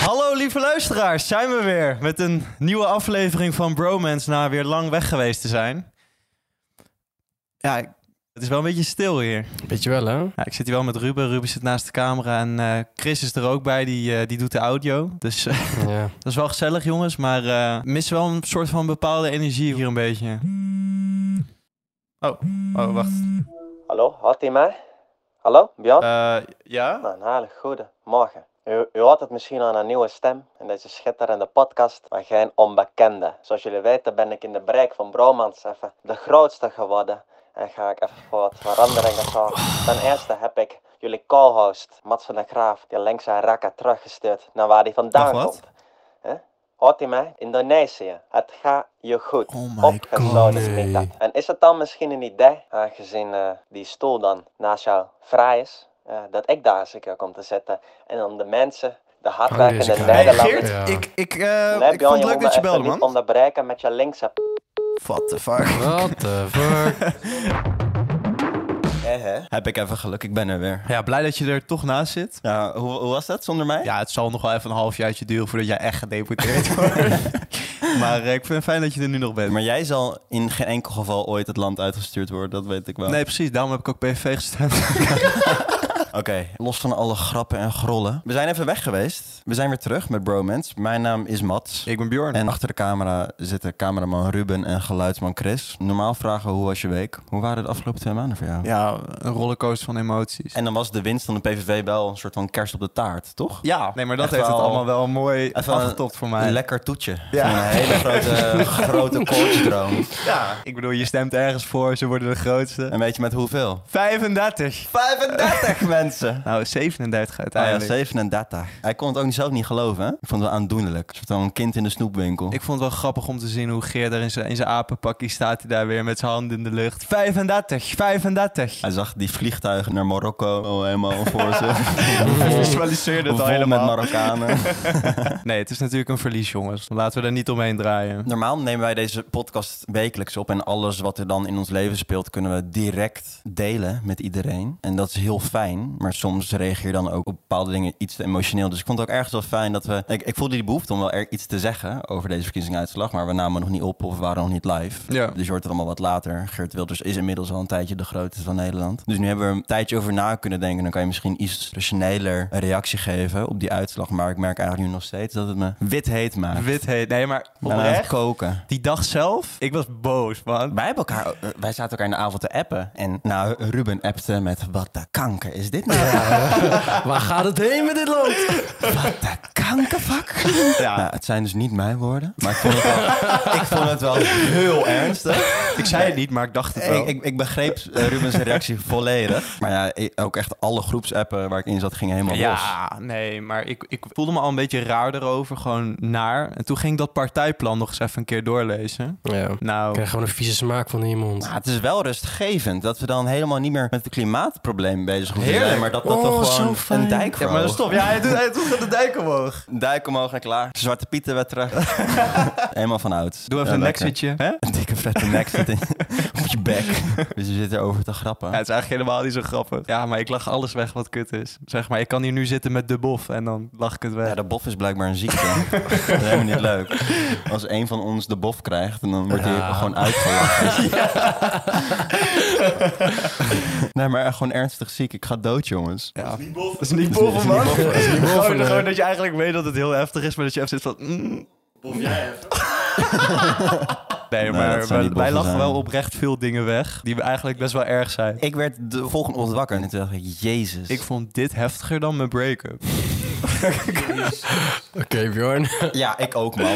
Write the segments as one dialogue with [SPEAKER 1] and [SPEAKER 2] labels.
[SPEAKER 1] Hallo lieve luisteraars, zijn we weer met een nieuwe aflevering van Bromance na weer lang weg geweest te zijn. Ja, ik- het is wel een beetje stil hier.
[SPEAKER 2] Weet je wel, hè?
[SPEAKER 1] Ja, ik zit hier wel met Ruben, Ruben zit naast de camera en eh, Chris is er ook bij, die, eh, die doet de audio. Dus eh,
[SPEAKER 2] Ja.
[SPEAKER 1] dat is wel gezellig jongens, maar eh mis wel een soort van bepaalde energie hier een beetje. Oh, oh wacht.
[SPEAKER 3] Hallo, hoort u mij? Hallo, Björn?
[SPEAKER 1] Eh, ja?
[SPEAKER 3] Een hele goede morgen. U, u hoort het misschien aan een nieuwe stem in deze schitterende podcast, maar geen onbekende. Zoals jullie weten ben ik in de bereik van Bromans even de grootste geworden. En ga ik even voor wat veranderingen zorgen. Ten eerste heb ik jullie co-host, Mats van der Graaf, die links zijn rakker teruggestuurd naar waar hij vandaan
[SPEAKER 1] Wacht, wat?
[SPEAKER 3] komt. Hè? Hoort u mij? Indonesië. Het gaat je goed.
[SPEAKER 1] Oh my god.
[SPEAKER 3] Opgesloten is dat. dus En is het dan misschien een idee, aangezien eh, die stoel dan naast jou vrij is, eh, dat ik daar eens een keer kom te zitten en dan de mensen, de
[SPEAKER 2] deze
[SPEAKER 3] hardwerkende
[SPEAKER 2] kant.
[SPEAKER 1] Hey
[SPEAKER 2] Nederland.
[SPEAKER 3] Nederlanders...
[SPEAKER 1] Geert,
[SPEAKER 2] Ja.
[SPEAKER 1] ik, ik, eh,
[SPEAKER 3] Nee,
[SPEAKER 1] ik
[SPEAKER 3] Björn,
[SPEAKER 1] vond het
[SPEAKER 3] je
[SPEAKER 1] leuk
[SPEAKER 3] moet me
[SPEAKER 1] dat je
[SPEAKER 3] even
[SPEAKER 1] belde
[SPEAKER 3] niet
[SPEAKER 1] man.
[SPEAKER 3] onderbreken met je linkse... p-
[SPEAKER 1] What the fuck.
[SPEAKER 2] What the fuck?
[SPEAKER 4] Hè, hè? Heb ik even geluk, ik ben er weer.
[SPEAKER 1] Ja, blij dat je er toch naast zit.
[SPEAKER 4] Ja, hoe, hoe was dat zonder mij?
[SPEAKER 1] Ja, het zal nog wel even een halfjaartje duren voordat jij echt gedeputeerd wordt. maar eh, ik vind het fijn dat je er nu nog bent.
[SPEAKER 4] Maar jij zal in geen enkel geval ooit het land uitgestuurd worden, dat weet ik wel.
[SPEAKER 1] Nee, precies. Daarom heb ik ook PVV gestemd.
[SPEAKER 4] Oké, los van alle grappen en grollen. We zijn even weg geweest. We zijn weer terug met Bromance. Mijn naam is Mats.
[SPEAKER 1] ik ben Bjorn.
[SPEAKER 4] En achter de camera zitten cameraman Ruben en geluidsman Chris. Normaal vragen hoe was je week? Hoe waren de afgelopen twee maanden voor jou?
[SPEAKER 1] Ja, een rollercoaster van emoties.
[SPEAKER 4] En dan was de winst van de PVV wel een soort van kerst op de taart, toch?
[SPEAKER 1] ja, nee, maar dat
[SPEAKER 4] echt
[SPEAKER 1] heeft het
[SPEAKER 4] wel-
[SPEAKER 1] allemaal wel mooi
[SPEAKER 4] Even een-
[SPEAKER 1] afgetopt voor mij.
[SPEAKER 4] Een lekker toetje.
[SPEAKER 1] Ja.
[SPEAKER 4] Van Een hele grote, grote koortsdroom.
[SPEAKER 1] ja, ik bedoel, je stemt ergens voor, ze worden de grootste.
[SPEAKER 4] En weet je met hoeveel?
[SPEAKER 1] 35.
[SPEAKER 4] 35 mensen!
[SPEAKER 1] Nou, 37
[SPEAKER 4] Ah ja,
[SPEAKER 1] uiteindelijk.
[SPEAKER 4] 37. Hij kon het ook zelf niet geloven, hè? Ik vond het wel aandoenlijk. Een soort van een kind in de snoepwinkel.
[SPEAKER 1] Ik vond het wel grappig om te zien hoe Geer daar in zijn, in zijn apenpakkie staat. Hij daar weer met zijn handen in de lucht. 35, 35.
[SPEAKER 4] Hij zag die vliegtuigen naar Marokko al helemaal voor zich.
[SPEAKER 1] Hij visualiseerde het al
[SPEAKER 4] Vol met
[SPEAKER 1] helemaal.
[SPEAKER 4] Marokkanen.
[SPEAKER 1] Nee, het is natuurlijk een verlies, jongens. Laten we daar niet omheen draaien.
[SPEAKER 4] Normaal nemen wij deze podcast wekelijks op. En alles wat er dan in ons leven speelt, kunnen we direct delen met iedereen. En dat is heel fijn. Maar soms reageer je dan ook op bepaalde dingen iets te emotioneel. Dus ik vond het ook ergens wel fijn dat we. Ik, ik voelde die behoefte om wel er iets te zeggen over deze verkiezingsuitslag. Maar we namen nog niet op of we waren nog niet live.
[SPEAKER 1] Ja.
[SPEAKER 4] Dus je hoort het allemaal wat later. Geert Wilders is inmiddels al een tijdje de grootste van Nederland. Dus nu hebben we er een tijdje over na kunnen denken. Dan kan je misschien iets rationeler een reactie geven op die uitslag. Maar ik merk eigenlijk nu nog steeds dat het me wit heet maakt.
[SPEAKER 1] Wit heet. Nee, maar
[SPEAKER 4] Bijna aan het
[SPEAKER 1] oprecht.
[SPEAKER 4] koken.
[SPEAKER 1] Die dag zelf, ik was boos, man.
[SPEAKER 4] Wij, hebben elkaar, eh, wij zaten elkaar in de avond te appen. En nou, Ruben appte met: Wat de kanker is dit nou?
[SPEAKER 2] Waar gaat het heen met dit land?
[SPEAKER 4] Wat de kankervak. Ja. Nou, het zijn dus niet mijn woorden. Maar ik vond het wel, ik vond het wel heel ernstig.
[SPEAKER 1] Ik zei het niet, maar ik dacht het wel.
[SPEAKER 4] Ik, ik, ik begreep eh, Rubens reactie volledig. Maar ja, ik- ook echt alle groepsappen waar ik in zat gingen helemaal los.
[SPEAKER 1] ja, nee, maar ik, ik voelde me al een beetje raar erover, gewoon naar. En toen ging ik dat partijplan nog eens even een keer doorlezen.
[SPEAKER 2] Ja. Ik
[SPEAKER 1] Nou,
[SPEAKER 2] krijg gewoon een vieze smaak van in je mond.
[SPEAKER 4] Maar Nou, het is wel rustgevend dat we dan helemaal niet meer met het klimaatprobleem bezig hoeven te
[SPEAKER 1] Heerlijk.
[SPEAKER 4] zijn. Maar dat dat
[SPEAKER 2] Oh,
[SPEAKER 4] toch
[SPEAKER 2] zo
[SPEAKER 4] gewoon
[SPEAKER 2] fijn.
[SPEAKER 4] een dijk
[SPEAKER 1] ja, maar dat is
[SPEAKER 4] verhoogt.
[SPEAKER 1] top. Ja, hij doet, hij doet aan de dijk omhoog.
[SPEAKER 4] Dijk omhoog en klaar. Zwarte Pieten werd terug. Helemaal van oud.
[SPEAKER 1] Doe even
[SPEAKER 4] Ja,
[SPEAKER 1] een
[SPEAKER 4] lekker.
[SPEAKER 1] nexitje. hè?
[SPEAKER 4] Een dikke vette nek zit in op je bek. Dus je zit erover te grappen.
[SPEAKER 1] Ja, het is eigenlijk helemaal niet zo grappig. Ja, maar ik lag alles weg wat kut is. Zeg maar, ik kan hier nu zitten met de bof en dan lach ik het weg.
[SPEAKER 4] Ja, de bof is blijkbaar een ziekte. dat is helemaal niet leuk. Als een van ons de bof krijgt, en dan wordt hij
[SPEAKER 2] Ja.
[SPEAKER 4] gewoon uitgelachen. nee, maar echt gewoon ernstig ziek. Ik ga dood, jongens.
[SPEAKER 1] Ja. Dat is niet boven. Dat is niet
[SPEAKER 4] Dat
[SPEAKER 1] boven,
[SPEAKER 4] is
[SPEAKER 1] man.
[SPEAKER 4] niet boven.
[SPEAKER 2] Dat is niet boven,
[SPEAKER 1] gewoon,
[SPEAKER 2] nee.
[SPEAKER 1] gewoon dat je eigenlijk weet dat het heel heftig is, maar dat je even zit van... Mm. Bof jij heftig. Nee, maar
[SPEAKER 4] dat zou
[SPEAKER 1] wij,
[SPEAKER 4] niet
[SPEAKER 1] wij
[SPEAKER 4] boven
[SPEAKER 1] lachen
[SPEAKER 4] zijn.
[SPEAKER 1] wel oprecht veel dingen weg die eigenlijk best wel erg zijn.
[SPEAKER 4] Ik werd de volgende ochtend wakker en toen dacht ik, jezus.
[SPEAKER 1] Ik vond dit heftiger dan mijn break-up.
[SPEAKER 2] Oké, Bjorn.
[SPEAKER 4] Ja, ik ook, man.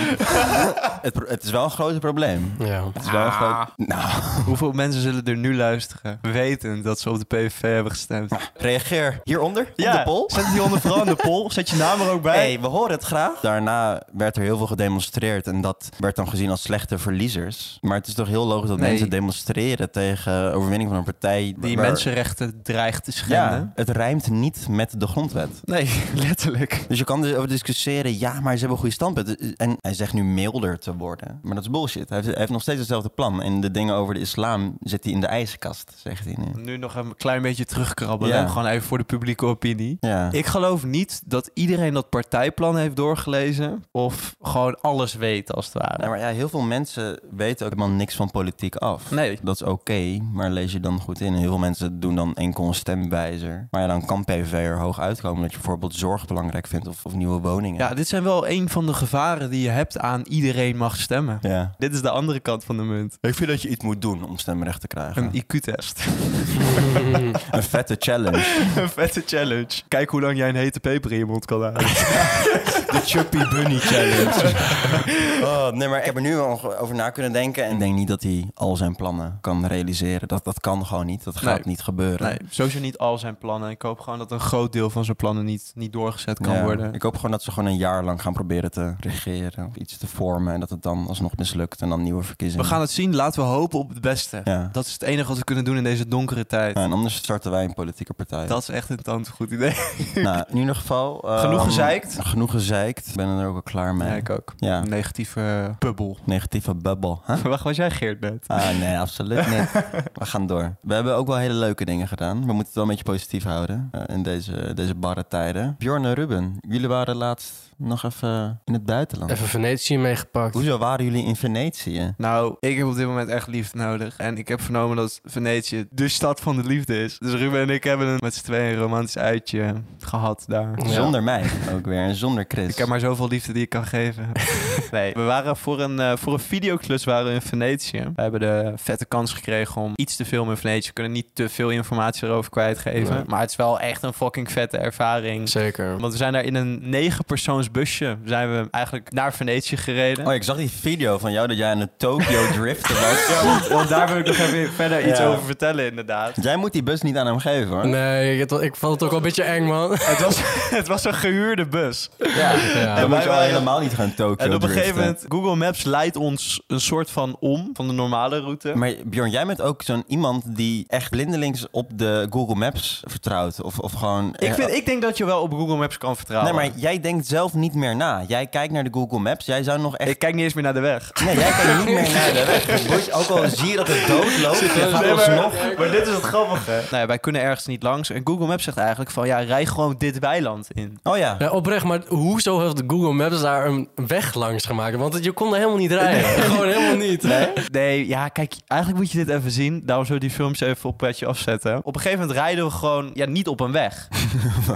[SPEAKER 4] het, pro- het is wel een groot probleem.
[SPEAKER 2] ja.
[SPEAKER 4] Het is wel een groot... Nou,
[SPEAKER 1] Hoeveel mensen zullen er nu luisteren, wetend dat ze op de PVV hebben gestemd?
[SPEAKER 4] Oh, reageer hieronder
[SPEAKER 1] Ja,
[SPEAKER 4] op de poll.
[SPEAKER 1] Zet het hier onder vooral in de poll. Zet je naam er ook bij.
[SPEAKER 4] Hey, we horen het graag. Daarna werd er heel veel gedemonstreerd en dat werd dan gezien als slechte verliezers. Maar het is toch heel logisch dat
[SPEAKER 1] Nee.
[SPEAKER 4] mensen demonstreren tegen overwinning van een partij
[SPEAKER 1] Die
[SPEAKER 4] waar-
[SPEAKER 1] mensenrechten dreigt te schenden.
[SPEAKER 4] Ja, het rijmt niet met de grondwet.
[SPEAKER 1] Nee, natuurlijk.
[SPEAKER 4] Dus je kan erover discussiëren, ja, maar ze hebben een goede standpunt. En hij zegt nu milder te worden. Maar dat is bullshit. Hij heeft, hij heeft nog steeds hetzelfde plan. En de dingen over de islam zit hij in de ijskast, zegt hij nu.
[SPEAKER 1] Nu nog een klein beetje terugkrabbelen.
[SPEAKER 4] Ja.
[SPEAKER 1] Gewoon even voor de publieke opinie.
[SPEAKER 4] Ja.
[SPEAKER 1] Ik geloof niet dat iedereen dat partijplan heeft doorgelezen. Of gewoon alles weet, als het ware.
[SPEAKER 4] Nou, maar ja, heel veel mensen weten ook helemaal niks van politiek af.
[SPEAKER 1] Nee.
[SPEAKER 4] Dat is oké, maar lees je dan goed in. En heel veel mensen doen dan enkel een stemwijzer. Maar ja, dan kan PVV er hoog uitkomen dat je bijvoorbeeld zorg belangrijk vindt of, of nieuwe woningen.
[SPEAKER 1] Ja, dit zijn wel een van de gevaren die je hebt aan iedereen mag stemmen.
[SPEAKER 4] ja.
[SPEAKER 1] Dit is de andere kant van de munt.
[SPEAKER 4] Ik vind dat je iets moet doen om stemrecht te krijgen.
[SPEAKER 1] Een
[SPEAKER 4] Een,
[SPEAKER 1] IQ-test.
[SPEAKER 4] vette challenge.
[SPEAKER 1] een vette challenge. Kijk hoe lang jij een hete peper in je mond kan houden.
[SPEAKER 4] De Chuppy Bunny challenge. oh, nee, maar ik heb er nu wel over na kunnen denken. En ik denk niet dat hij al zijn plannen kan realiseren. Dat, dat kan gewoon niet. Dat gaat
[SPEAKER 1] Nee.
[SPEAKER 4] niet gebeuren.
[SPEAKER 1] Nee, sowieso niet al zijn plannen. Ik hoop gewoon dat een groot deel van zijn plannen niet, niet doorgezet kan
[SPEAKER 4] Ja,
[SPEAKER 1] worden.
[SPEAKER 4] Ik hoop gewoon dat ze gewoon een jaar lang gaan proberen te regeren. Of iets te vormen. En dat het dan alsnog mislukt. En dan nieuwe
[SPEAKER 1] We
[SPEAKER 4] verkiezingen.
[SPEAKER 1] gaan het zien. Laten we hopen op het beste.
[SPEAKER 4] Ja.
[SPEAKER 1] Dat is het enige wat we kunnen doen in deze donkere tijd.
[SPEAKER 4] Ja, en anders starten wij een politieke partij.
[SPEAKER 1] Dat is echt een tand goed idee. Ehm,
[SPEAKER 4] Nou, in ieder geval... eh,
[SPEAKER 1] Genoeg gezeikt?
[SPEAKER 4] Genoeg gezeikt. Ik ben er ook al klaar mee.
[SPEAKER 1] Ja, ik ook.
[SPEAKER 4] Ja.
[SPEAKER 1] Negatieve bubbel.
[SPEAKER 4] Negatieve bubbel. hè?
[SPEAKER 1] Wacht, was jij Geert net?
[SPEAKER 4] Ah, nee, absoluut niet. We gaan door. We hebben ook wel hele leuke dingen gedaan. We moeten het wel een beetje positief houden eh, in deze, deze barre tijden. Bjorn en Ruben, jullie waren laatst nog even in het buitenland.
[SPEAKER 2] Even Venetië meegepakt.
[SPEAKER 4] Hoezo waren jullie in Venetië?
[SPEAKER 1] Nou, ik heb op dit moment echt liefde nodig. En ik heb vernomen dat Venetië de stad van de liefde is. Dus Ruben en ik hebben een, met z'n tweeën een romantisch uitje gehad daar.
[SPEAKER 2] Ja.
[SPEAKER 4] Zonder mij ook weer en zonder Chris.
[SPEAKER 1] Ik heb maar zoveel liefde die ik kan geven. nee, we waren voor een, eh, voor een videoclus waren we in Venetië. We hebben de vette kans gekregen om iets te filmen in Venetië. We kunnen niet te veel informatie erover kwijtgeven.
[SPEAKER 2] Nee.
[SPEAKER 1] Maar het is wel echt een fucking vette ervaring.
[SPEAKER 2] Zeker.
[SPEAKER 1] Want we zijn daar in een negenpersoons busje. Zijn we eigenlijk naar Venetië gereden.
[SPEAKER 4] Oh, ik zag die video van jou dat jij aan de Tokyo driften was.
[SPEAKER 1] Ja, want, want daar wil ik nog even verder iets
[SPEAKER 4] Ja.
[SPEAKER 1] over vertellen, inderdaad.
[SPEAKER 4] Jij moet die bus niet aan hem geven hoor.
[SPEAKER 2] Nee, het, wa- ik vond het ook wel een beetje eng, man.
[SPEAKER 1] Het was, het was een gehuurde bus.
[SPEAKER 4] Ja.
[SPEAKER 2] Ja.
[SPEAKER 4] Dan moet
[SPEAKER 1] wij
[SPEAKER 4] je wel
[SPEAKER 1] waren-
[SPEAKER 4] helemaal niet gaan Tokyo
[SPEAKER 1] En op een gegeven
[SPEAKER 4] driften.
[SPEAKER 1] moment, Google Maps leidt ons een soort van om van de normale route.
[SPEAKER 4] Maar Bjorn, jij bent ook zo'n iemand die echt blindelings op de Google Maps vertrouwt. Of, of gewoon...
[SPEAKER 1] Ik, vind, ik denk dat je wel op Google Maps kan
[SPEAKER 4] eh, Nee,
[SPEAKER 1] vertrouwen.
[SPEAKER 4] maar jij denkt zelf niet meer na. Jij kijkt naar de Google Maps. Jij zou nog echt...
[SPEAKER 1] Ik kijk niet eens meer naar de weg.
[SPEAKER 4] Nee, jij kijkt niet meer naar de weg. Het wordt- Ook al zie je dat het dood loopt, je gaat
[SPEAKER 1] Nee,
[SPEAKER 4] alsnog...
[SPEAKER 1] maar dit is het grappige. Nou ja, wij kunnen ergens niet langs. En Google Maps zegt eigenlijk van, ja, rij gewoon dit weiland in.
[SPEAKER 4] Oh ja.
[SPEAKER 2] Ja, oprecht, maar hoezo heeft Google Maps daar een weg langs gemaakt? Want je kon er helemaal niet rijden. Gewoon helemaal niet.
[SPEAKER 1] Eh, Nee, ja, kijk, eigenlijk moet je dit even zien. Daarom zullen we die films even op petje afzetten. Op een gegeven moment rijden we gewoon, ja, niet op een weg.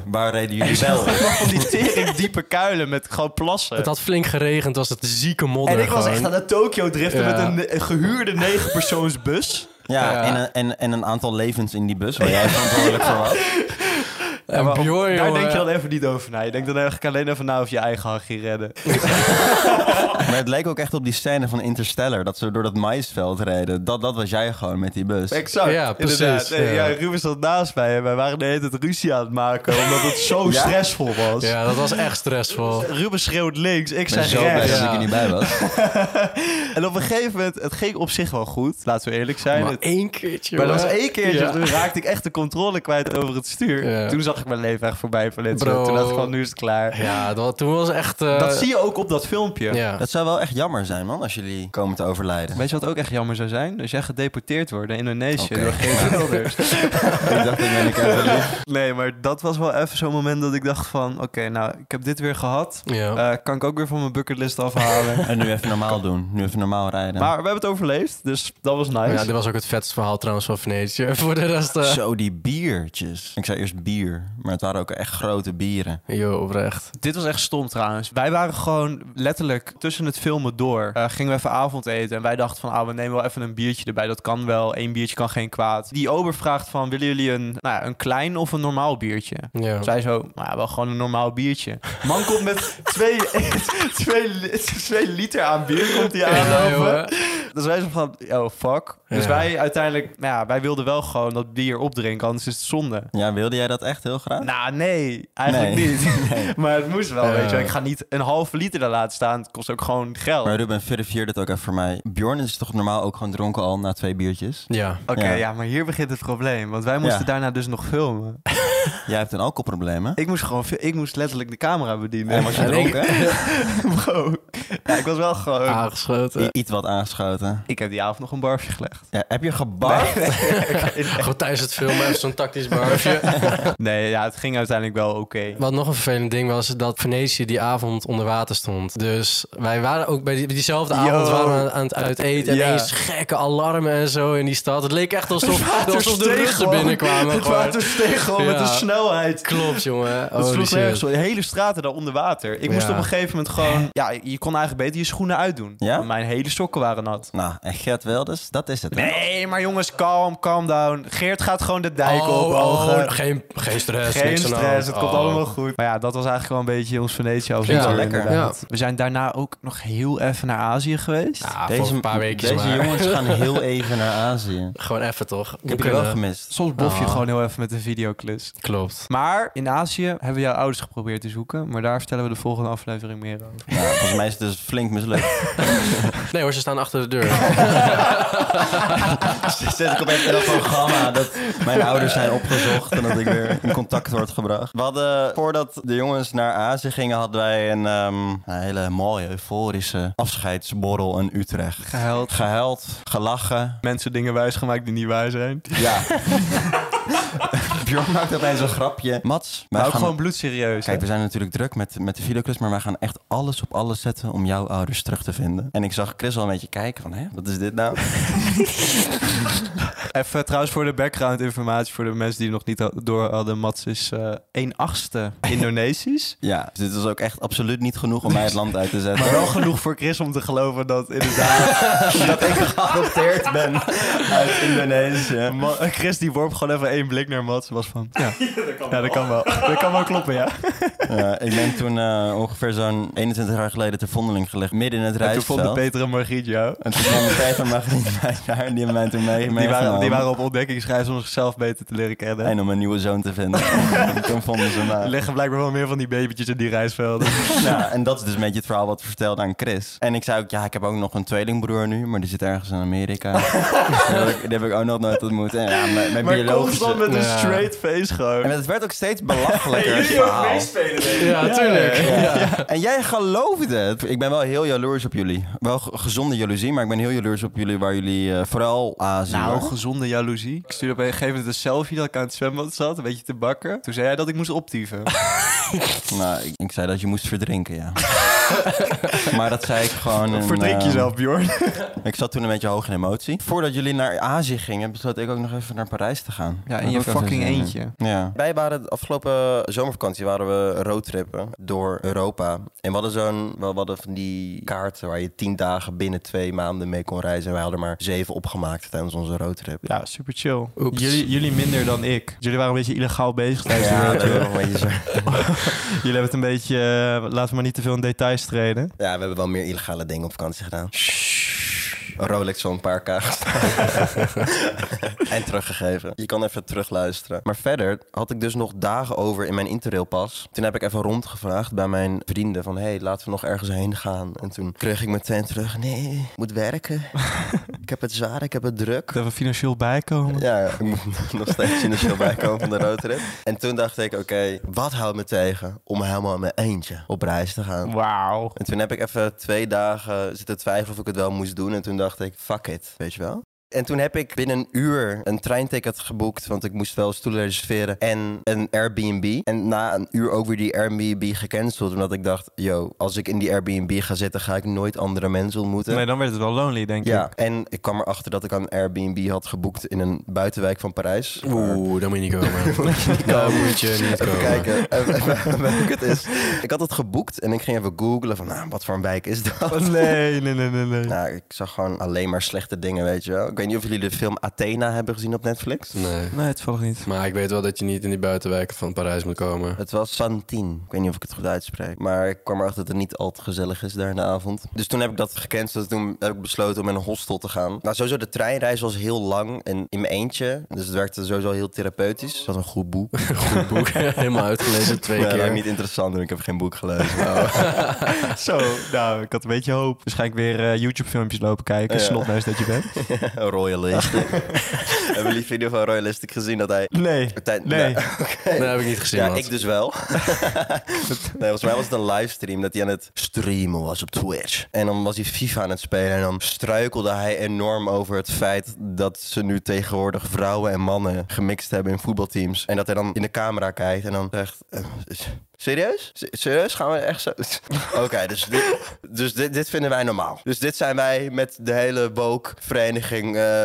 [SPEAKER 4] Waar reden jullie wel?
[SPEAKER 1] Van die tering diepe kuilen met gewoon plassen.
[SPEAKER 2] Het had flink geregend, was het zieke modder
[SPEAKER 1] En ik was
[SPEAKER 2] gewoon.
[SPEAKER 1] echt aan het Tokyo driften
[SPEAKER 2] Ja.
[SPEAKER 1] met een, ne- een gehuurde negenpersoonsbus.
[SPEAKER 4] Ja,
[SPEAKER 2] Ja.
[SPEAKER 4] En, een- en, en een aantal levens in die bus waar jij verantwoordelijk voor was.
[SPEAKER 2] En
[SPEAKER 1] Maar op-
[SPEAKER 2] Bjorn,
[SPEAKER 1] daar
[SPEAKER 2] jongen.
[SPEAKER 1] denk je dan even niet over na. Je denkt dan eigenlijk alleen even na of je eigen hachje redden.
[SPEAKER 4] Maar het leek ook echt op die scène van Interstellar. Dat ze door dat maisveld reden. Dat, dat was jij gewoon met die bus.
[SPEAKER 1] Exact.
[SPEAKER 2] Ja, precies,
[SPEAKER 1] inderdaad. Nee, ja.
[SPEAKER 2] ja.
[SPEAKER 1] Ruben zat naast mij en wij waren de hele tijd ruzie aan het maken. Omdat het zo
[SPEAKER 4] Ja?
[SPEAKER 1] stressvol was.
[SPEAKER 2] Ja, dat was echt stressvol.
[SPEAKER 1] Ruben schreeuwt links, ik
[SPEAKER 4] Ik ben
[SPEAKER 1] zeg
[SPEAKER 4] zo
[SPEAKER 1] rechts.
[SPEAKER 4] blij dat
[SPEAKER 2] Ja.
[SPEAKER 4] ik er niet bij was.
[SPEAKER 1] En op een gegeven moment, het ging op zich wel goed. Laten we eerlijk zijn.
[SPEAKER 2] Maar
[SPEAKER 1] Het-
[SPEAKER 2] één keertje,
[SPEAKER 1] maar dat was
[SPEAKER 2] jongen.
[SPEAKER 1] één keertje, dus-
[SPEAKER 2] Ja.
[SPEAKER 1] toen raakte ik echt de controle kwijt over het stuur.
[SPEAKER 2] Ja.
[SPEAKER 1] Toen zag ik mijn leven echt voorbij van dit.
[SPEAKER 2] Bro.
[SPEAKER 1] Toen dacht ik van, nu is het klaar.
[SPEAKER 2] Ja, dat, toen was echt... eh,
[SPEAKER 1] Dat zie je ook op dat filmpje.
[SPEAKER 2] Ja.
[SPEAKER 4] Dat zou wel echt jammer zijn, man, als jullie komen te overlijden.
[SPEAKER 1] Weet je wat ook echt jammer zou zijn? Als jij gedeporteerd wordt in Indonesië
[SPEAKER 4] Oké.
[SPEAKER 1] door geen Wilders.
[SPEAKER 4] ik dacht, ik ben ik even lief.
[SPEAKER 1] Nee, maar dat was wel even zo'n moment dat ik dacht van... Oké, nou, ik heb dit weer gehad.
[SPEAKER 2] Ja.
[SPEAKER 1] Eh, kan ik ook weer van mijn bucketlist afhalen.
[SPEAKER 4] En nu even normaal doen. Nu even normaal rijden.
[SPEAKER 1] Maar we hebben het overleefd, dus dat was
[SPEAKER 2] Oh ja,
[SPEAKER 1] nice.
[SPEAKER 2] dit was ook het vetste verhaal trouwens van Venetië. Voor de rest... eh,
[SPEAKER 4] Zo, die biertjes. Ik zei eerst bier, maar het waren ook echt grote bieren.
[SPEAKER 2] Yo, oprecht.
[SPEAKER 1] Dit was echt stom trouwens. Wij waren gewoon letterlijk tussen het filmen door. eh, gingen we even avondeten. En wij dachten van, ah, we nemen wel even een biertje erbij. Dat kan wel. Eén biertje kan geen kwaad. Die ober vraagt van, willen jullie een, nou, ja, een klein of een normaal biertje?
[SPEAKER 2] Ja.
[SPEAKER 1] Zij zo, nou, ja, wel gewoon een normaal biertje. Man komt met twee, twee, li- twee liter aan bier komt die
[SPEAKER 2] Ja,
[SPEAKER 1] aanlopen.
[SPEAKER 2] jongen.
[SPEAKER 1] dus wij zo van, oh fuck. Dus
[SPEAKER 2] Ja.
[SPEAKER 1] wij uiteindelijk, nou ja, wij wilden wel gewoon dat bier opdrinken, anders is het zonde.
[SPEAKER 4] Ja, wilde jij dat echt heel graag?
[SPEAKER 1] Nou, nee, eigenlijk
[SPEAKER 4] Nee.
[SPEAKER 1] niet. Maar het moest wel,
[SPEAKER 2] Ja.
[SPEAKER 1] weet je wel. Ik ga niet een halve liter daar laten staan. Het kost ook gewoon geld.
[SPEAKER 4] Maar Ruben, verifieer dit ook even voor mij. Bjorn is toch normaal ook gewoon dronken al na twee biertjes?
[SPEAKER 2] Ja.
[SPEAKER 1] Oké,
[SPEAKER 4] Ja.
[SPEAKER 1] ja. maar hier begint het probleem. Want wij moesten
[SPEAKER 4] Ja.
[SPEAKER 1] daarna dus nog filmen.
[SPEAKER 4] Jij hebt een alcoholprobleem, hè?
[SPEAKER 1] Ik moest gewoon, veel- ik moest letterlijk de camera bedienen.
[SPEAKER 4] En was je
[SPEAKER 2] En ik-
[SPEAKER 4] dronken?
[SPEAKER 1] Bro. Ja, ik was wel gewoon...
[SPEAKER 2] Ah.
[SPEAKER 4] I-
[SPEAKER 2] Aangeschoten.
[SPEAKER 4] Iets wat aangeschoten.
[SPEAKER 1] Ik heb die avond nog een barfje gelegd.
[SPEAKER 4] Ja, heb je gebarfd?
[SPEAKER 2] Gewoon tijdens het filmen even zo'n tactisch barfje.
[SPEAKER 1] Nee, ja, het ging uiteindelijk wel oké.
[SPEAKER 2] Wat nog een vervelend ding was, dat Venetië die avond onder water stond. Dus wij waren ook bij die- diezelfde avond
[SPEAKER 1] Yo.
[SPEAKER 2] waren we aan- aan het uiteten. En
[SPEAKER 1] Ja.
[SPEAKER 2] ineens gekke alarmen en zo in die stad. Het leek echt alsof, alsof de
[SPEAKER 1] steeg
[SPEAKER 2] Russen
[SPEAKER 1] gewoon.
[SPEAKER 2] binnenkwamen.
[SPEAKER 1] Het
[SPEAKER 2] gewoon.
[SPEAKER 1] water steeg gewoon met
[SPEAKER 2] Ja.
[SPEAKER 1] een snelheid.
[SPEAKER 2] Klopt, jongen.
[SPEAKER 1] Het
[SPEAKER 2] Holy
[SPEAKER 1] sloeg nergens
[SPEAKER 2] shit.
[SPEAKER 1] op. De hele straten daar onder water. Ik moest
[SPEAKER 2] Ja.
[SPEAKER 1] op een gegeven moment gewoon... Ja, je kon eigenlijk beter je schoenen uitdoen.
[SPEAKER 4] Ja?
[SPEAKER 1] Want Mijn hele sokken waren nat.
[SPEAKER 4] nou, en Gert Wilders, dat is het. hè?
[SPEAKER 1] Nee, maar jongens, calm, calm down. Geert gaat gewoon de dijk
[SPEAKER 2] Oh,
[SPEAKER 1] op.
[SPEAKER 2] oh,
[SPEAKER 1] ogen.
[SPEAKER 2] geen, geen stress.
[SPEAKER 1] Geen
[SPEAKER 2] niks aan de hand.
[SPEAKER 1] stress, het komt
[SPEAKER 2] Oh.
[SPEAKER 1] allemaal goed. Maar ja, dat was eigenlijk wel een beetje ons Venetië avontuur.
[SPEAKER 2] Klinkt wel
[SPEAKER 4] lekker.
[SPEAKER 1] inderdaad. We zijn daarna ook nog heel even naar Azië geweest.
[SPEAKER 2] Ja, Ah, voor een paar weken
[SPEAKER 4] deze
[SPEAKER 2] maar.
[SPEAKER 4] jongens gaan heel even naar Azië.
[SPEAKER 2] Gewoon even toch?
[SPEAKER 4] Ik
[SPEAKER 2] We
[SPEAKER 4] heb je
[SPEAKER 2] kunnen.
[SPEAKER 4] wel gemist.
[SPEAKER 1] Soms bof je
[SPEAKER 2] Ah.
[SPEAKER 1] gewoon heel even met een videoclus.
[SPEAKER 2] Klopt.
[SPEAKER 1] Maar in Azië hebben we jouw ouders geprobeerd te zoeken. Maar daar vertellen we de volgende aflevering meer over.
[SPEAKER 4] Nou, volgens mij is het dus flink mislukt.
[SPEAKER 2] Nee hoor, ze staan achter de deur.
[SPEAKER 4] Dus zit ik op een programma dat mijn ouders zijn opgezocht en dat ik weer in contact word gebracht. We hadden, voordat de jongens naar Azië gingen, hadden wij een, ehm, een hele mooie, euforische afscheidsborrel in Utrecht.
[SPEAKER 1] Gehuild.
[SPEAKER 4] Gehuild, gelachen.
[SPEAKER 1] Mensen dingen wijsgemaakt die niet waar zijn.
[SPEAKER 4] Ja. Bjorn maakt opeens een grapje. Mats, wij
[SPEAKER 1] Maar ook
[SPEAKER 4] gaan-
[SPEAKER 1] gewoon bloedserieus.
[SPEAKER 4] Kijk, we zijn natuurlijk druk met, met de videoclus, maar wij gaan echt alles op alles zetten om jouw ouders terug te vinden. En ik zag Chris al een beetje kijken van, hè, wat is dit nou?
[SPEAKER 1] hè? Even eh, trouwens voor de background informatie voor de mensen die het nog niet ha- door hadden. Mats is eh 1 achtste Indonesisch.
[SPEAKER 4] Ja, dus dit is ook echt absoluut niet genoeg om mij het land uit te zetten.
[SPEAKER 1] Maar wel genoeg voor Chris om te geloven dat inderdaad...
[SPEAKER 4] dat ik geadopteerd ben uit Indonesië.
[SPEAKER 1] Ma- eh, Chris die worp gewoon even één blik naar Mats en was van... Ja, dat, kan ja dat kan wel. Dat kan wel kloppen, ja.
[SPEAKER 4] Ja, ik ben toen eh, ongeveer zo'n 21 jaar geleden ter vondeling gelegd, midden in het
[SPEAKER 1] En toen vonden
[SPEAKER 4] rijstveld.
[SPEAKER 1] Peter en Margriet jou.
[SPEAKER 4] En toen kwam de Peter Margriet bij elkaar en die hebben mij toen mee,
[SPEAKER 1] Die waren,
[SPEAKER 4] meegenomen.
[SPEAKER 1] die waren op ontdekkingsreis om zichzelf beter te leren kennen.
[SPEAKER 4] En eh, om een nieuwe zoon te vinden. toen vonden ze
[SPEAKER 1] Er
[SPEAKER 4] mij.
[SPEAKER 1] liggen blijkbaar wel meer van die babytjes in die reisvelden.
[SPEAKER 4] Ja, en dat is dus een beetje het verhaal wat ik vertelde aan Chris. En ik zei ook, ja, ik heb ook nog een tweelingbroer nu, maar die zit ergens in Amerika. Dus die, heb ik, die heb ik ook nog nooit ontmoet. En ja, mijn, mijn
[SPEAKER 1] maar
[SPEAKER 4] biologische...
[SPEAKER 1] constant met een
[SPEAKER 2] Ja.
[SPEAKER 1] straight face
[SPEAKER 4] En
[SPEAKER 1] gewoon.
[SPEAKER 4] het werd ook steeds belachelijker, het verhaal.
[SPEAKER 2] Ja, tuurlijk.
[SPEAKER 4] En jij geloofde het. Ik ben wel heel jaloers op jullie. Wel ge- gezonde jaloezie, maar ik ben heel jaloers op jullie waar jullie eh, vooral Azië...
[SPEAKER 1] Nou, gezonde jaloezie. Ik stuurde op een gegeven moment een selfie dat ik aan het zwembad zat, een beetje te bakken. Toen zei hij dat ik moest optieven.
[SPEAKER 4] Nou, ik, ik zei dat je moest verdrinken, ja. maar dat zei ik gewoon... in,
[SPEAKER 1] Verdrink
[SPEAKER 4] eh,
[SPEAKER 1] jezelf, Bjorn.
[SPEAKER 4] Ik zat toen een beetje hoog in emotie. Voordat jullie naar Azië gingen, besloot ik ook nog even naar Parijs te gaan.
[SPEAKER 1] Ja, in
[SPEAKER 4] Dat
[SPEAKER 1] je
[SPEAKER 4] had ik ook
[SPEAKER 1] fucking
[SPEAKER 4] even zin in.
[SPEAKER 1] eentje.
[SPEAKER 4] Ja. Wij waren de afgelopen zomervakantie waren we roadtrippen door Europa. En we hadden zo'n, we hadden van die kaarten waar je tien dagen binnen twee maanden mee kon reizen. En wij hadden er maar zeven opgemaakt tijdens onze roadtrip.
[SPEAKER 1] Ja, super chill.
[SPEAKER 2] Oeps.
[SPEAKER 1] Jullie, jullie minder dan ik. Jullie waren een beetje illegaal bezig tijdens de
[SPEAKER 4] Ja,
[SPEAKER 1] roadtrip.
[SPEAKER 4] dat is wel een beetje zo.
[SPEAKER 1] Jullie hebben het een beetje... eh, laten we maar niet te veel in details treden.
[SPEAKER 4] ja, we hebben wel meer illegale dingen op vakantie gedaan. Een Rolex zo'n paar k en teruggegeven. Je kan even terugluisteren. Maar verder had ik dus nog dagen over in mijn interrailpas. Toen heb ik even rondgevraagd bij mijn vrienden van... hey, laten we nog ergens heen gaan. En toen kreeg ik meteen terug... nee, ik moet werken. ik heb het zwaar, ik heb het druk.
[SPEAKER 1] Dat we financieel bijkomen.
[SPEAKER 4] Ja, ik moet nog steeds in de show bijkomen van de roadtrip. En toen dacht ik, oké, wat houdt me tegen om helemaal in mijn eentje op reis te gaan?
[SPEAKER 1] Wauw.
[SPEAKER 4] En toen heb ik even twee dagen zitten twijfelen of ik het wel moest doen. En toen dacht ik, fuck it, weet je wel? En toen heb ik binnen een uur een treinticket geboekt, want ik moest wel stoelen reserveren en een Airbnb. En na een uur ook weer die Airbnb gecanceld, omdat ik dacht, yo, als ik in die Airbnb ga zitten, ga ik nooit andere mensen ontmoeten.
[SPEAKER 1] Nee, dan werd het wel lonely, denk
[SPEAKER 4] Ja,
[SPEAKER 1] ik.
[SPEAKER 4] en ik kwam erachter dat ik een Airbnb had geboekt in een buitenwijk van Parijs.
[SPEAKER 2] Oeh, daar moet je niet komen. Daar moet je niet
[SPEAKER 4] Even
[SPEAKER 2] komen.
[SPEAKER 4] kijken even- even welke het is. Ik had het geboekt en ik ging even googlen van, nou, wat voor een wijk is dat?
[SPEAKER 1] Oh, Nee, nee, nee, nee, nee.
[SPEAKER 4] Nou, ik zag gewoon alleen maar slechte dingen, weet je wel. Ik weet niet of jullie de film Athena hebben gezien op Netflix.
[SPEAKER 2] Nee.
[SPEAKER 1] Nee, het valt niet.
[SPEAKER 2] Maar ik weet wel dat je niet in die buitenwijken van Parijs moet komen.
[SPEAKER 4] Het was Santine. Ik weet niet of ik het goed uitspreek. Maar ik kwam erachter dat het niet al te gezellig is daar in de avond. Dus toen heb ik dat gecanceld. Toen heb ik besloten om in een hostel te gaan. Nou, sowieso de treinreis was heel lang en in mijn eentje. Dus het werkte sowieso heel therapeutisch. Ik had een goed boek.
[SPEAKER 2] Goed boek. Helemaal uitgelezen twee
[SPEAKER 4] Ja,
[SPEAKER 2] keer.
[SPEAKER 4] nou, niet interessant, want ik heb geen boek gelezen. Oh.
[SPEAKER 1] Zo, nou, ik had een beetje hoop. Waarschijnlijk weer eh, YouTube-filmpjes lopen kijken.
[SPEAKER 4] Ja.
[SPEAKER 1] Snotneus dat je bent.
[SPEAKER 4] een royalistic. Hebben jullie video van royalistic gezien dat hij...
[SPEAKER 1] Nee.
[SPEAKER 4] Tijd-
[SPEAKER 1] Nee.
[SPEAKER 4] Oké.
[SPEAKER 2] Dat heb ik niet gezien,
[SPEAKER 4] Ja,
[SPEAKER 2] man.
[SPEAKER 4] ik dus wel. nee, volgens mij was het een livestream dat hij aan het streamen was op Twitch. En dan was hij FIFA aan het spelen en dan struikelde hij enorm over het feit dat ze nu tegenwoordig vrouwen en mannen gemixt hebben in voetbalteams. En dat hij dan in de camera kijkt en dan zegt... eh, is- Serieus? S- Serieus? Gaan we echt zo? Oké, dus, dit, dus dit, dit vinden wij normaal. Dus dit zijn wij met de hele woke-vereniging eh,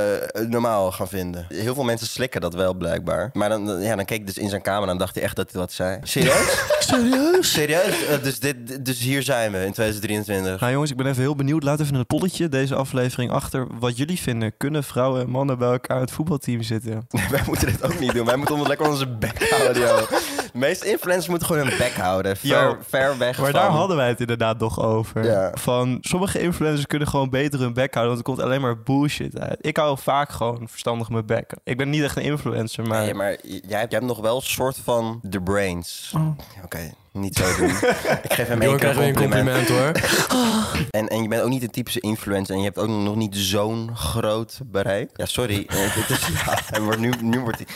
[SPEAKER 4] normaal gaan vinden. Heel veel mensen slikken dat wel, blijkbaar. Maar dan, dan- ja, dan keek ik dus in zijn camera en dacht hij echt dat hij wat zei. Serieus? Serieus? Serieus? Eh, dus, dit, dus hier zijn we in 2023.
[SPEAKER 1] Nou jongens, ik ben even heel benieuwd. Laat even in het polletje deze aflevering achter wat jullie vinden. Kunnen vrouwen en mannen bij elkaar in het voetbalteam zitten?
[SPEAKER 4] wij moeten dit ook niet doen. Wij moeten ons lekker onze bek houden, joh. De meeste influencers moeten gewoon hun bek houden. Ver,
[SPEAKER 1] Yo.
[SPEAKER 4] ver weg
[SPEAKER 1] Maar
[SPEAKER 4] van...
[SPEAKER 1] daar hadden wij het inderdaad nog over.
[SPEAKER 4] Ja.
[SPEAKER 1] Van sommige influencers kunnen gewoon beter hun bek houden, want er komt alleen maar bullshit uit. Ik hou vaak gewoon verstandig mijn bek. Ik ben niet echt een influencer, maar.
[SPEAKER 4] Nee, maar j- jij hebt, jij hebt nog wel een soort van de brains. Oké, niet zo doen. ik geef hem
[SPEAKER 2] Johan
[SPEAKER 4] één keer
[SPEAKER 2] krijgt weer een
[SPEAKER 4] een compliment.
[SPEAKER 2] compliment, hoor.
[SPEAKER 4] En, en je bent ook niet de typische influencer en je hebt ook nog niet zo'n groot bereik. Ja, sorry. Eh, dit is, ja, hij wordt nu, nu wordt hij...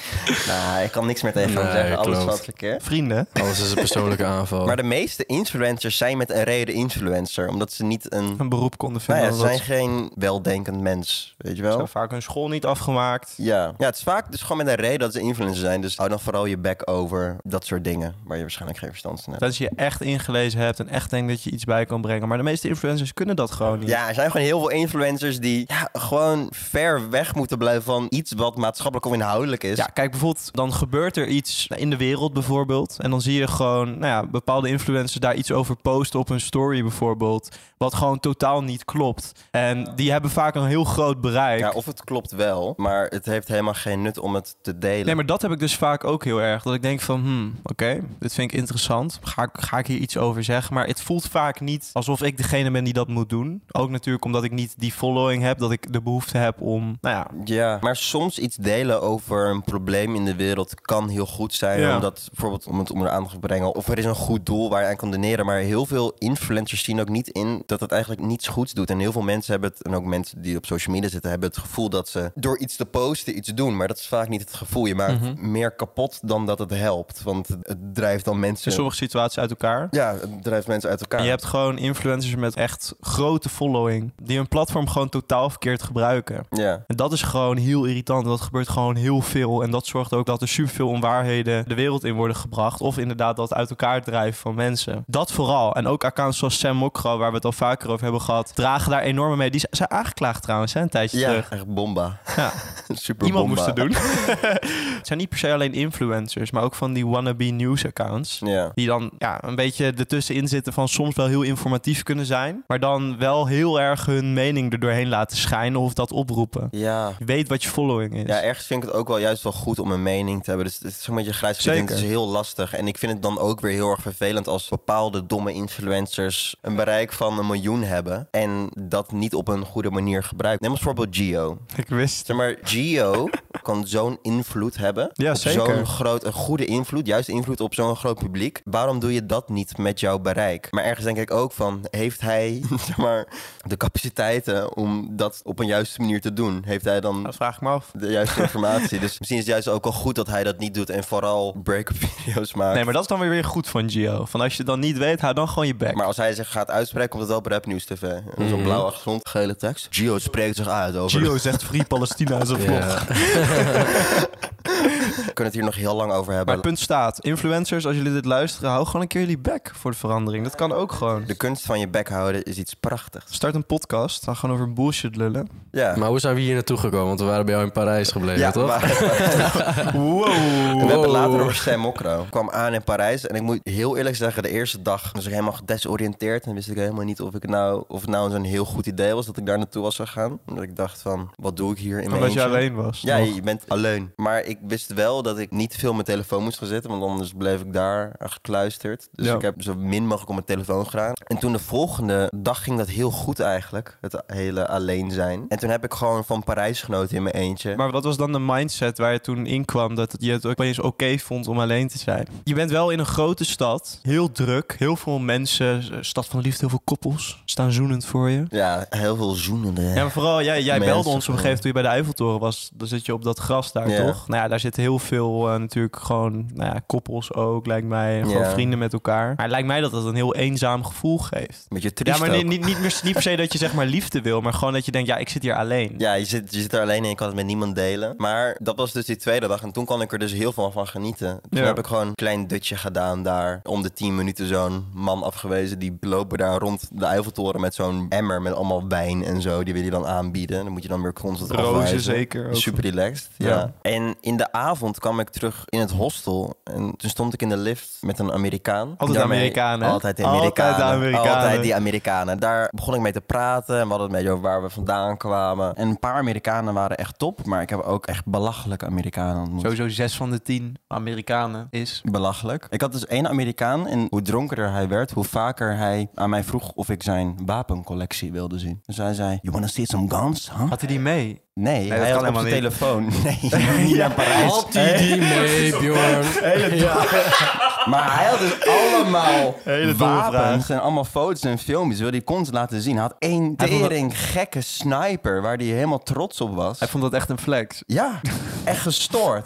[SPEAKER 4] Nou, ik kan niks meer tegen hem
[SPEAKER 2] Nee,
[SPEAKER 4] zeggen. Alles
[SPEAKER 2] klopt.
[SPEAKER 4] wat verkeerd.
[SPEAKER 1] Vrienden.
[SPEAKER 2] Alles is een persoonlijke aanval.
[SPEAKER 4] Maar de meeste influencers zijn met een reden influencer. Omdat ze niet een...
[SPEAKER 1] Een beroep konden
[SPEAKER 4] Nou
[SPEAKER 1] vinden.
[SPEAKER 4] ja, ze
[SPEAKER 1] omdat
[SPEAKER 4] zijn geen weldenkend mens, weet je
[SPEAKER 1] ze
[SPEAKER 4] wel?
[SPEAKER 1] hebben vaak hun school niet afgemaakt.
[SPEAKER 4] Ja. ja, het is vaak dus gewoon met een reden dat ze influencer zijn. Dus hou dan vooral je bek over dat soort dingen waar je waarschijnlijk geen verstand van hebt.
[SPEAKER 1] Dat je echt ingelezen hebt en echt denkt dat je iets bij kan brengen. Maar de meeste influencers kunnen dat gewoon niet.
[SPEAKER 4] Ja, er zijn gewoon heel veel influencers die ja, gewoon ver weg moeten blijven van iets wat maatschappelijk of inhoudelijk is.
[SPEAKER 1] Ja, kijk, bijvoorbeeld, dan gebeurt er iets in de wereld bijvoorbeeld. En dan zie je gewoon nou ja, bepaalde influencers daar iets over posten op hun story bijvoorbeeld. Wat gewoon totaal niet klopt. En die hebben vaak een heel groot bereik.
[SPEAKER 4] Ja, of het klopt wel, maar het heeft helemaal geen nut om het te delen.
[SPEAKER 1] Nee, maar dat heb ik dus vaak ook heel erg. Dat ik denk van, hmm, oké, dit vind ik interessant. Ga, ik- ga ik hier iets over zeggen? Maar het voelt vaak niet alsof ik degene ben die dat moet doen. Ook natuurlijk omdat ik niet die following heb. Dat ik de behoefte heb om, nou ja,
[SPEAKER 4] Ja, maar soms iets delen over een probleem in de wereld kan heel goed zijn.
[SPEAKER 1] Ja.
[SPEAKER 4] Omdat bijvoorbeeld om het onder de aandacht te brengen. Of er is een goed doel waar je aan kan doneren. Maar heel veel influencers zien ook niet in dat het eigenlijk niets goeds doet. En heel veel mensen hebben het, en ook mensen die op social media zitten, hebben het gevoel dat ze door iets te posten iets doen. Maar dat is vaak niet het gevoel. Je maakt
[SPEAKER 1] Mhm.
[SPEAKER 4] meer kapot dan dat het helpt. Want het- het drijft dan
[SPEAKER 1] in
[SPEAKER 4] mensen.
[SPEAKER 1] sommige situaties uit elkaar.
[SPEAKER 4] Ja, het drijft mensen uit elkaar.
[SPEAKER 1] En je hebt gewoon influencers met echt grote following. Die hun platform gewoon totaal verkeerd gebruiken.
[SPEAKER 4] Ja.
[SPEAKER 1] En dat is gewoon heel irritant. Dat gebeurt gewoon heel veel. En dat zorgt ook dat er superveel onwaarheden de wereld in worden gebracht. Of inderdaad dat uit elkaar drijven van mensen. Dat vooral. En ook accounts zoals Sam Mokro, waar we het al vaker over hebben gehad, dragen daar enorm mee. Die z- zijn aangeklaagd trouwens, hè, een tijdje
[SPEAKER 4] Ja,
[SPEAKER 1] terug.
[SPEAKER 4] echt bomba.
[SPEAKER 1] Ja.
[SPEAKER 4] Super
[SPEAKER 1] Iemand
[SPEAKER 4] bomba.
[SPEAKER 1] moest het doen. het zijn niet per se alleen influencers, maar ook van die wannabe news accounts.
[SPEAKER 4] Ja.
[SPEAKER 1] Die dan ja, een beetje ertussenin zitten van soms wel heel informatief kunnen zijn. Maar dan wel heel erg hun mening er doorheen laten schijnen of dat oproepen.
[SPEAKER 4] Ja.
[SPEAKER 1] Je weet wat je following is.
[SPEAKER 4] Ja, ergens vind ik het ook wel juist wel goed om een mening te hebben. Dus het is een beetje grijs gebied en Het is
[SPEAKER 1] Zeker.
[SPEAKER 4] heel lastig. En ik vind het dan ook weer heel erg vervelend als bepaalde domme influencers een bereik van een miljoen hebben. En dat niet op een goede manier gebruiken. Neem als voorbeeld Gio.
[SPEAKER 1] Ik wist
[SPEAKER 4] Zeg maar, Gio kan zo'n invloed hebben.
[SPEAKER 1] Ja,
[SPEAKER 4] op
[SPEAKER 1] zeker.
[SPEAKER 4] Zo'n groot, een goede invloed, juist invloed op zo'n groot publiek. Waarom doe je dat niet met jouw bereik? Maar ergens denk ik ook van, heeft hij zeg maar, de capaciteiten om dat op een juiste manier te doen? Heeft hij dan
[SPEAKER 1] Dat vraag ik me af.
[SPEAKER 4] de juiste informatie. dus misschien is het juist ook wel goed dat hij dat niet doet en vooral break-up video's maakt.
[SPEAKER 1] Nee, maar dat is dan weer weer goed van Gio. Van als je het dan niet weet, hou dan gewoon je bek.
[SPEAKER 4] Maar Mhm. als hij zich gaat uitspreken, komt het wel op Rap News TV. En dan Zo'n blauwe achtergrond, gele tekst. Gio spreekt zich uit over.
[SPEAKER 1] Gio zegt Free Palestina in zijn vlog.
[SPEAKER 2] Ja.
[SPEAKER 4] We kunnen het hier nog heel lang over
[SPEAKER 1] Maar
[SPEAKER 4] hebben.
[SPEAKER 1] het punt staat, influencers, als jullie dit luisteren, hou gewoon een keer jullie bek voor de verandering. Dat kan ook gewoon.
[SPEAKER 4] De kunst van je bek houden is iets prachtigs.
[SPEAKER 1] Start een podcast, dan gewoon over bullshit lullen.
[SPEAKER 4] Ja.
[SPEAKER 2] Maar hoe zijn we hier naartoe gekomen? Want we waren bij jou in Parijs gebleven,
[SPEAKER 4] ja,
[SPEAKER 2] toch?
[SPEAKER 4] maar-
[SPEAKER 1] Wow.
[SPEAKER 4] We hebben het
[SPEAKER 2] Wow.
[SPEAKER 4] later over Sam Mokro. Ik kwam aan in Parijs en ik moet heel eerlijk zeggen, de eerste dag was ik helemaal gedesoriënteerd. En wist ik helemaal niet of, ik nou, of het nou zo'n heel goed idee was dat ik daar naartoe was gegaan. Omdat ik dacht van, wat doe ik hier in mijn
[SPEAKER 1] Omdat je
[SPEAKER 4] eentje?
[SPEAKER 1] alleen was.
[SPEAKER 4] Ja,
[SPEAKER 1] nog.
[SPEAKER 4] je bent alleen. Maar ik wist wel dat ik niet veel op mijn telefoon moest gaan zitten, want anders bleef ik daar gekluisterd. Dus
[SPEAKER 1] Ja.
[SPEAKER 4] ik heb zo min mogelijk op mijn telefoon gedaan. En toen de volgende dag ging dat heel goed eigenlijk, het hele alleen zijn. En toen heb ik gewoon van Parijs genoten in mijn eentje.
[SPEAKER 1] Maar wat was dan de mindset waar je toen in kwam dat je het ook opeens oké vond om alleen te zijn? Je bent wel in een grote stad, heel druk, heel veel mensen, eh, stad van de liefde, heel veel koppels staan zoenend voor je.
[SPEAKER 4] Ja, heel veel zoenende.
[SPEAKER 1] Ja, maar vooral jij, jij
[SPEAKER 4] Mensen
[SPEAKER 1] belde ons op een
[SPEAKER 4] gewoon.
[SPEAKER 1] gegeven moment toen je bij de Eiffeltoren was. Dan zit je op dat gras daar,
[SPEAKER 4] Ja.
[SPEAKER 1] toch? Nou ja, daar zitten heel veel eh, natuurlijk gewoon nou ja, koppels ook, lijkt mij. en Gewoon
[SPEAKER 4] Ja.
[SPEAKER 1] vrienden met elkaar. Maar het lijkt mij dat dat een heel eenzaam gevoel geeft.
[SPEAKER 4] Beetje triest
[SPEAKER 1] Ja, maar
[SPEAKER 4] ook.
[SPEAKER 1] niet, niet, niet, meer, niet per se dat je zeg maar liefde wil, maar gewoon dat je denkt, ja, ik zit hier alleen.
[SPEAKER 4] Ja, je zit, je zit er alleen en je kan het met niemand delen. Maar dat was dus die tweede dag. En toen kon ik er dus heel veel van genieten. Toen
[SPEAKER 1] Ja.
[SPEAKER 4] heb ik gewoon een klein dutje gedaan daar. Om de tien minuten zo'n man afgewezen. Die lopen daar rond de Eiffeltoren met zo'n emmer met allemaal wijn en zo. Die wil je dan aanbieden. Dan moet je dan weer constant
[SPEAKER 1] Rozen
[SPEAKER 4] afwijzen.
[SPEAKER 1] zeker ook.
[SPEAKER 4] Super relaxed, ja.
[SPEAKER 1] Ja.
[SPEAKER 4] En in de avond kwam ik terug in het hostel. En toen stond ik in de lift met een Amerikaan.
[SPEAKER 1] Altijd
[SPEAKER 4] Daarmee-
[SPEAKER 1] Amerikanen, hè?
[SPEAKER 4] Altijd de
[SPEAKER 1] Altijd de
[SPEAKER 4] Amerikanen.
[SPEAKER 1] Amerikanen.
[SPEAKER 4] Altijd die Amerikanen. Daar begon ik mee te praten. En we hadden het een beetje over waar we vandaan kwamen. En een paar Amerikanen waren echt top. Maar ik heb ook echt belachelijke Amerikanen ontmoet.
[SPEAKER 1] Sowieso zes van de tien Amerikanen is.
[SPEAKER 4] Belachelijk. Ik had dus één Amerikaan en hoe dronkerder hij werd, hoe vaker hij aan mij vroeg of ik zijn wapencollectie wilde zien. Dus hij zei, you wanna see some guns, huh?
[SPEAKER 1] Had hij die mee?
[SPEAKER 4] Nee,
[SPEAKER 1] dat
[SPEAKER 4] hij
[SPEAKER 1] kan
[SPEAKER 4] had op zijn
[SPEAKER 1] helemaal niet.
[SPEAKER 4] telefoon. Nee, niet naar Parijs.
[SPEAKER 2] Had hij die mee, Bjorn?
[SPEAKER 4] Maar hij had dus allemaal
[SPEAKER 1] Hele domme
[SPEAKER 4] wapens
[SPEAKER 1] vraag.
[SPEAKER 4] en allemaal foto's en filmpjes. Wilde hij constant laten zien. Hij had één
[SPEAKER 1] Hij vond dat-
[SPEAKER 4] tering gekke sniper waar hij helemaal trots op was.
[SPEAKER 1] Hij vond dat echt een flex.
[SPEAKER 4] Ja, echt gestoord.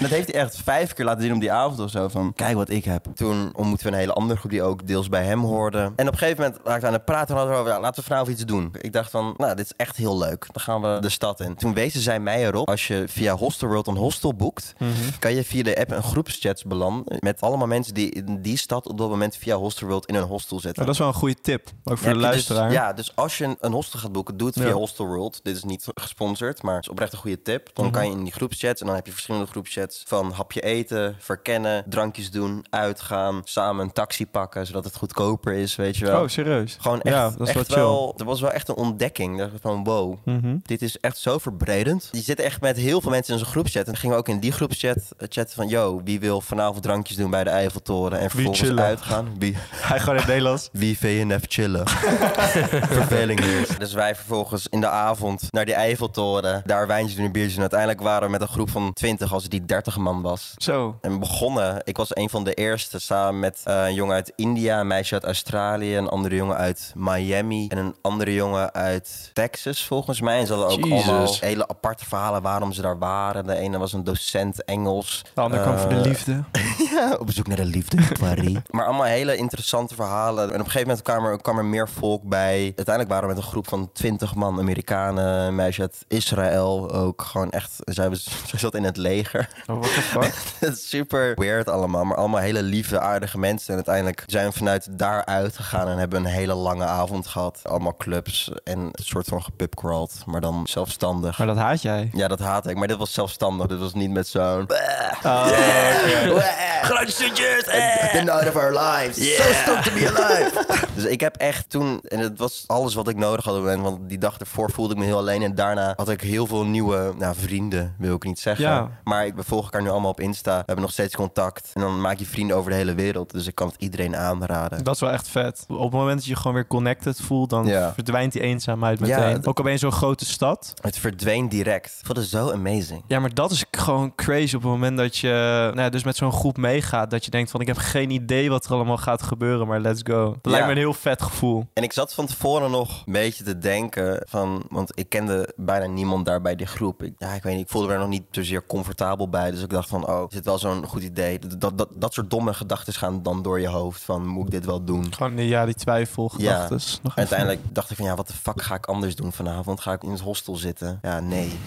[SPEAKER 4] dat heeft hij echt vijf keer laten zien op die avond of zo. Van, kijk wat ik heb. Toen ontmoeten we een hele andere groep die ook deels bij hem hoorde. En op een gegeven moment raakte we aan het praten. En hadden we over, ja, laten we vanavond iets doen. Ik dacht van, nou, dit is echt heel leuk. Dan gaan we de stad in. Toen wezen zij mij erop. Als je via Hostelworld een hostel boekt, kan je via de app een groepschats belanden. Met allemaal mensen die in die stad op dat moment via Hostelworld in een hostel zitten.
[SPEAKER 1] dat is wel een goede tip, ook voor
[SPEAKER 4] Heb
[SPEAKER 1] de
[SPEAKER 4] je
[SPEAKER 1] luisteraar.
[SPEAKER 4] Dus, ja, dus als je een, een hostel gaat boeken, doe het via
[SPEAKER 1] Ja.
[SPEAKER 4] Hostel World. Dit is niet gesponsord, maar het is oprecht een goede tip.
[SPEAKER 1] Mhm.
[SPEAKER 4] Dan kan je in die groepschats en dan heb je verschillende groepschats van hapje eten, verkennen, drankjes doen, uitgaan, samen een taxi pakken, zodat het goedkoper is, weet je wel.
[SPEAKER 1] Oh, serieus?
[SPEAKER 4] Gewoon echt,
[SPEAKER 1] Ja, dat is
[SPEAKER 4] echt
[SPEAKER 1] wel chill. Mhm.
[SPEAKER 4] wel, er was wel echt een ontdekking. Dat ik Van wow, dit is echt zo verbredend. Je zit echt met heel veel mensen in zo'n groepchat. En dan gingen we ook in die groepchat eh, chatten van... yo, wie wil vanavond drankjes doen bij de Eiffeltoren... en vervolgens
[SPEAKER 1] chillen?
[SPEAKER 4] uitgaan? Wie,
[SPEAKER 1] Hij gewoon in het Nederlands.
[SPEAKER 4] wie VNF chillen. Verveling hier. Dus wij vervolgens in de avond naar die Eiffeltoren. Daar wijntjes doen en biertjes. En uiteindelijk waren we met een groep van 20 als het die 30 man was.
[SPEAKER 1] Zo.
[SPEAKER 4] En we begonnen, ik was een van de eerste, samen met eh, een jongen uit India, een meisje uit Australië, een andere jongen uit Miami en een andere jongen uit Texas volgens mij. En ze hadden ook
[SPEAKER 2] Jezus.
[SPEAKER 4] allemaal hele aparte verhalen waarom ze daar waren. De ene was een docent Engels.
[SPEAKER 1] De ander kwam voor de
[SPEAKER 4] Eh,
[SPEAKER 1] liefde.
[SPEAKER 4] ja, op zoek naar de liefde, Marie. maar allemaal hele interessante verhalen. En op een gegeven moment kwam er, kwam er meer volk bij. Uiteindelijk waren we met een groep van 20 man Amerikanen, een meisje uit Israël ook. Gewoon echt, zij, was, zij zat in het leger.
[SPEAKER 1] Oh, what the fuck?
[SPEAKER 4] Het is Super weird allemaal, maar allemaal hele lieve, aardige mensen. En uiteindelijk zijn we vanuit daaruit gegaan en hebben een hele lange avond gehad. Allemaal clubs en een soort van gepubcrawled, maar dan zelfstandig.
[SPEAKER 1] Maar dat haat jij.
[SPEAKER 4] Ja, dat haat ik, maar dit was zelfstandig. Dit was niet met zo'n... "Ah,
[SPEAKER 2] Geluidsstukjes!
[SPEAKER 4] The night of our lives. So stoked to be alive. dus ik heb echt toen, en het was alles wat ik nodig had op het moment, want die dag ervoor voelde ik me heel alleen. En daarna had ik heel veel nieuwe nou, vrienden, wil ik niet zeggen.
[SPEAKER 1] Ja.
[SPEAKER 4] Maar ik we volgen elkaar nu allemaal op Insta. We hebben nog steeds contact. En dan maak je vrienden over de hele wereld. Dus ik kan het iedereen aanraden.
[SPEAKER 1] Dat is wel echt vet. Op het moment dat je je gewoon weer connected voelt, dan
[SPEAKER 4] Ja.
[SPEAKER 1] verdwijnt die eenzaamheid
[SPEAKER 4] Ja,
[SPEAKER 1] meteen.
[SPEAKER 4] het-
[SPEAKER 1] Ook al ben je zo'n grote stad.
[SPEAKER 4] Het verdween direct. Ik vond het zo amazing.
[SPEAKER 1] Ja, maar dat is k- gewoon crazy op het moment dat je nou ja, dus met zo'n groep meegaat. Dat je denkt van, ik heb geen idee wat er allemaal gaat gebeuren, maar let's go. Dat
[SPEAKER 4] Ja.
[SPEAKER 1] lijkt me een heel vet gevoel.
[SPEAKER 4] En ik zat van tevoren nog een beetje te denken van... Want ik kende bijna niemand daar bij die groep. Ik, ja, ik weet niet, ik voelde me er nog niet zozeer comfortabel bij. Dus ik dacht van, oh, is dit wel zo'n goed idee? Dat, dat, dat, dat soort domme gedachten gaan dan door je hoofd van... Moet ik dit wel doen?
[SPEAKER 1] Gewoon die, ja, die twijfelgedachtes. Nog even.
[SPEAKER 4] Uiteindelijk dacht ik van, ja, wat de fuck ga ik anders doen vanavond? Ga ik in het hostel zitten? Ja, nee.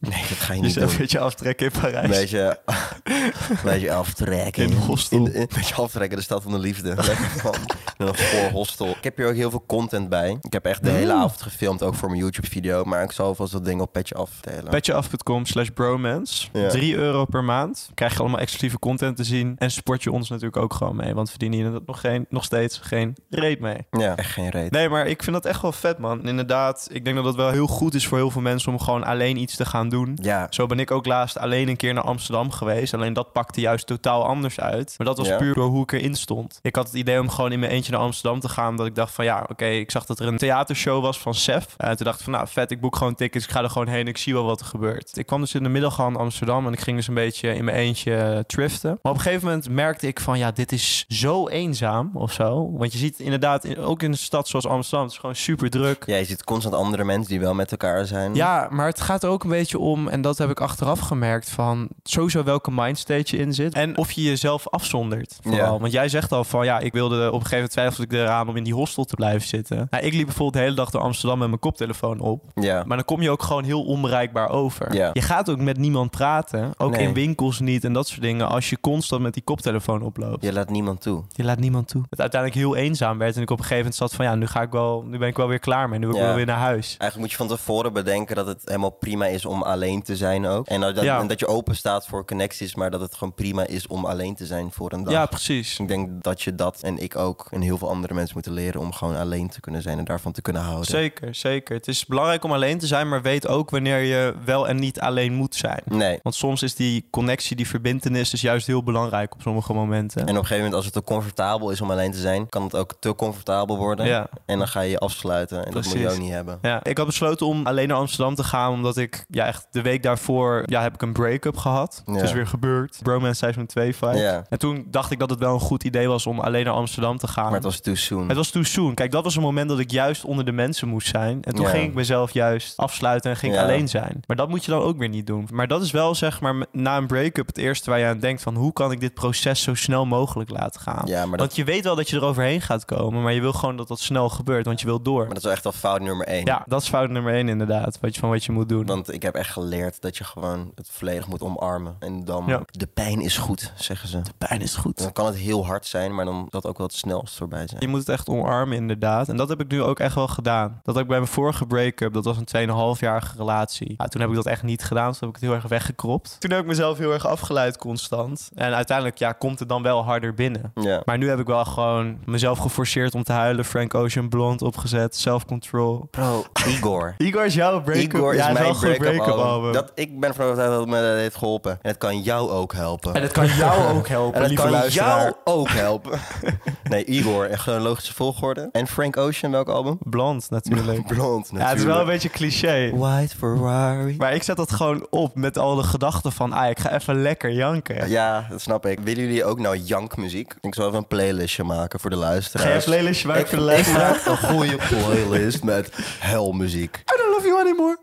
[SPEAKER 4] Nee, dat ga je niet
[SPEAKER 1] Jezelf een
[SPEAKER 4] doen.
[SPEAKER 1] beetje aftrekken in Parijs.
[SPEAKER 4] Een beetje, een beetje aftrekken.
[SPEAKER 1] In het hostel.
[SPEAKER 4] de- Een beetje aftrekken, de stad van de liefde. Lekker man. Heel voor hostel. Ik heb hier ook heel veel content bij. Ik heb echt de hele
[SPEAKER 1] Mm.
[SPEAKER 4] avond gefilmd, ook voor mijn YouTube-video. Maar ik zal alvast dat ding op petje aftelen.
[SPEAKER 1] Petjeaf.com slash bromance.
[SPEAKER 4] Ja.
[SPEAKER 1] 3 euro per maand. Krijg je allemaal exclusieve content te zien. En support je ons natuurlijk ook gewoon mee. Want we verdienen hier nog, geen, nog steeds geen reet mee.
[SPEAKER 4] Ja, echt geen reet.
[SPEAKER 1] Nee, maar ik vind dat echt wel vet, man. Inderdaad, ik denk dat dat wel heel goed is voor heel veel mensen om gewoon alleen iets te gaan doen.
[SPEAKER 4] Ja,
[SPEAKER 1] Zo ben ik ook laatst alleen een keer naar Amsterdam geweest. Alleen dat pakte juist totaal anders uit. Maar dat was
[SPEAKER 4] Ja.
[SPEAKER 1] puur door hoe ik erin stond. Ik had het idee om gewoon in mijn eentje naar Amsterdam te gaan. Dat ik dacht van ja, oké, ik zag dat er een theatershow was van Sef. En toen dacht ik van nou vet, ik boek gewoon tickets. Ik ga er gewoon heen. Ik zie wel wat er gebeurt. Ik kwam dus in de middag aan Amsterdam en ik ging dus een beetje in mijn eentje eh, thriften. Maar op een gegeven moment merkte ik van ja, dit is zo eenzaam of zo. Want je ziet inderdaad in- ook in een stad zoals Amsterdam, het is gewoon super druk.
[SPEAKER 4] Ja, je ziet constant andere mensen die wel met elkaar zijn.
[SPEAKER 1] Ja, maar het gaat er ook een beetje om, en dat heb ik achteraf gemerkt, van sowieso welke mindstate je in zit. En of je jezelf afzondert. Vooral.
[SPEAKER 4] Ja.
[SPEAKER 1] Want jij zegt al van ja, ik wilde op een gegeven moment twijfelde ik eraan om in die hostel te blijven zitten. Nou, ik liep bijvoorbeeld de hele dag door Amsterdam met mijn koptelefoon op.
[SPEAKER 4] Ja.
[SPEAKER 1] Maar dan kom je ook gewoon heel onbereikbaar over.
[SPEAKER 4] Ja.
[SPEAKER 1] Je gaat ook met niemand praten. Ook
[SPEAKER 4] Nee.
[SPEAKER 1] in winkels niet en dat soort dingen. Als je constant met die koptelefoon oploopt.
[SPEAKER 4] Je laat niemand toe.
[SPEAKER 1] Je laat niemand toe. Het uiteindelijk heel eenzaam werd. En ik op een gegeven moment zat van ja, nu, ga ik wel, nu ben ik wel weer klaar mee. Nu wil ik
[SPEAKER 4] Ja.
[SPEAKER 1] wel weer naar huis.
[SPEAKER 4] Eigenlijk moet je van tevoren bedenken dat het helemaal prima is om alleen te zijn ook. En dat, dat-
[SPEAKER 1] Ja.
[SPEAKER 4] en dat je open staat voor connecties, maar dat het gewoon prima is om alleen te zijn voor een dag.
[SPEAKER 1] Ja, precies.
[SPEAKER 4] Dus ik denk dat je dat en ik ook en heel veel andere mensen moeten leren om gewoon alleen te kunnen zijn en daarvan te kunnen houden.
[SPEAKER 1] Zeker, zeker. Het is belangrijk om alleen te zijn, maar weet ook wanneer je wel en niet alleen moet zijn.
[SPEAKER 4] Nee.
[SPEAKER 1] Want soms is die connectie, die verbintenis, dus juist heel belangrijk op sommige momenten.
[SPEAKER 4] En op een gegeven moment, als het te comfortabel is om alleen te zijn, kan het ook te comfortabel worden.
[SPEAKER 1] Ja.
[SPEAKER 4] En dan ga je je afsluiten. En dat moet je
[SPEAKER 1] Precies.
[SPEAKER 4] ook niet hebben.
[SPEAKER 1] Ja, ik had besloten om alleen naar Amsterdam te gaan, omdat ik ja, echt de week daarvoor ja, heb ik een break-up gehad.
[SPEAKER 4] Ja.
[SPEAKER 1] Het is weer gebeurd. Bromance Seizoen 2 fight.
[SPEAKER 4] Ja.
[SPEAKER 1] En toen dacht ik dat het wel een goed idee was om alleen naar Amsterdam te gaan.
[SPEAKER 4] Maar het was too soon.
[SPEAKER 1] Het was too soon. Kijk, dat was een moment dat ik juist onder de mensen moest zijn. En toen
[SPEAKER 4] Ja.
[SPEAKER 1] ging ik mezelf juist afsluiten en ging ik
[SPEAKER 4] Ja.
[SPEAKER 1] alleen zijn. Maar dat moet je dan ook weer niet doen. Maar dat is wel, zeg maar, na een break-up het eerste waar je aan denkt van... hoe kan ik dit proces zo snel mogelijk laten gaan?
[SPEAKER 4] Ja, maar dat,
[SPEAKER 1] Want je weet wel dat je er overheen gaat komen, maar je wil gewoon dat dat snel gebeurt, want je wil door.
[SPEAKER 4] maar dat is wel echt al fout nummer één.
[SPEAKER 1] Ja, dat is fout nummer één inderdaad, wat je, van wat je moet doen.
[SPEAKER 4] Want ik heb echt geleerd dat je gewoon het volledig moet omarmen. En dan,
[SPEAKER 1] Ja.
[SPEAKER 4] de pijn is goed, zeggen ze.
[SPEAKER 1] pijn is goed.
[SPEAKER 4] Dan kan het heel hard zijn, maar dan moet dat ook wel het snelst voorbij zijn.
[SPEAKER 1] Je moet het echt omarmen, inderdaad. En dat heb ik nu ook echt wel gedaan. Dat heb ik bij mijn vorige break-up, dat was een 2,5-jarige relatie. Ja, toen heb ik dat echt niet gedaan, dus toen heb ik het heel erg weggekropt. Toen heb ik mezelf heel erg afgeleid constant. En uiteindelijk ja, komt het dan wel harder binnen.
[SPEAKER 4] Ja.
[SPEAKER 1] Maar nu heb ik wel gewoon mezelf geforceerd om te huilen. Frank Ocean Blond opgezet, self-control.
[SPEAKER 4] Bro, Igor.
[SPEAKER 1] Igor is jouw break-up.
[SPEAKER 4] Igor
[SPEAKER 1] ja,
[SPEAKER 4] is
[SPEAKER 1] wel
[SPEAKER 4] mijn
[SPEAKER 1] een goed
[SPEAKER 4] break-up
[SPEAKER 1] break-up
[SPEAKER 4] album.
[SPEAKER 1] album.
[SPEAKER 4] Dat, ik ben ervan overtuigd dat het me dat heeft geholpen. En het kan jou ook helpen.
[SPEAKER 1] En het kan jou ook
[SPEAKER 4] En
[SPEAKER 1] helpen,
[SPEAKER 4] het
[SPEAKER 1] lieve
[SPEAKER 4] kan jou
[SPEAKER 1] luisteraar.
[SPEAKER 4] ook helpen. nee, Igor, echt een logische volgorde. En Frank Ocean, welk album?
[SPEAKER 1] Blond, natuurlijk.
[SPEAKER 4] Blond, natuurlijk.
[SPEAKER 1] Ja, het is wel een beetje cliché.
[SPEAKER 4] White Ferrari.
[SPEAKER 1] Maar ik zet dat gewoon op met al de gedachten van... Ah, ik ga even lekker janken.
[SPEAKER 4] Ja, dat snap ik. Willen jullie ook nou jankmuziek? Ik zal even een playlistje maken voor de
[SPEAKER 1] Ga jij
[SPEAKER 4] luisteraars.
[SPEAKER 1] een playlistje maken
[SPEAKER 4] Ik-
[SPEAKER 1] voor de luisteraar?
[SPEAKER 4] Ik maak een goede playlist met helmuziek.
[SPEAKER 1] I don't love you anymore.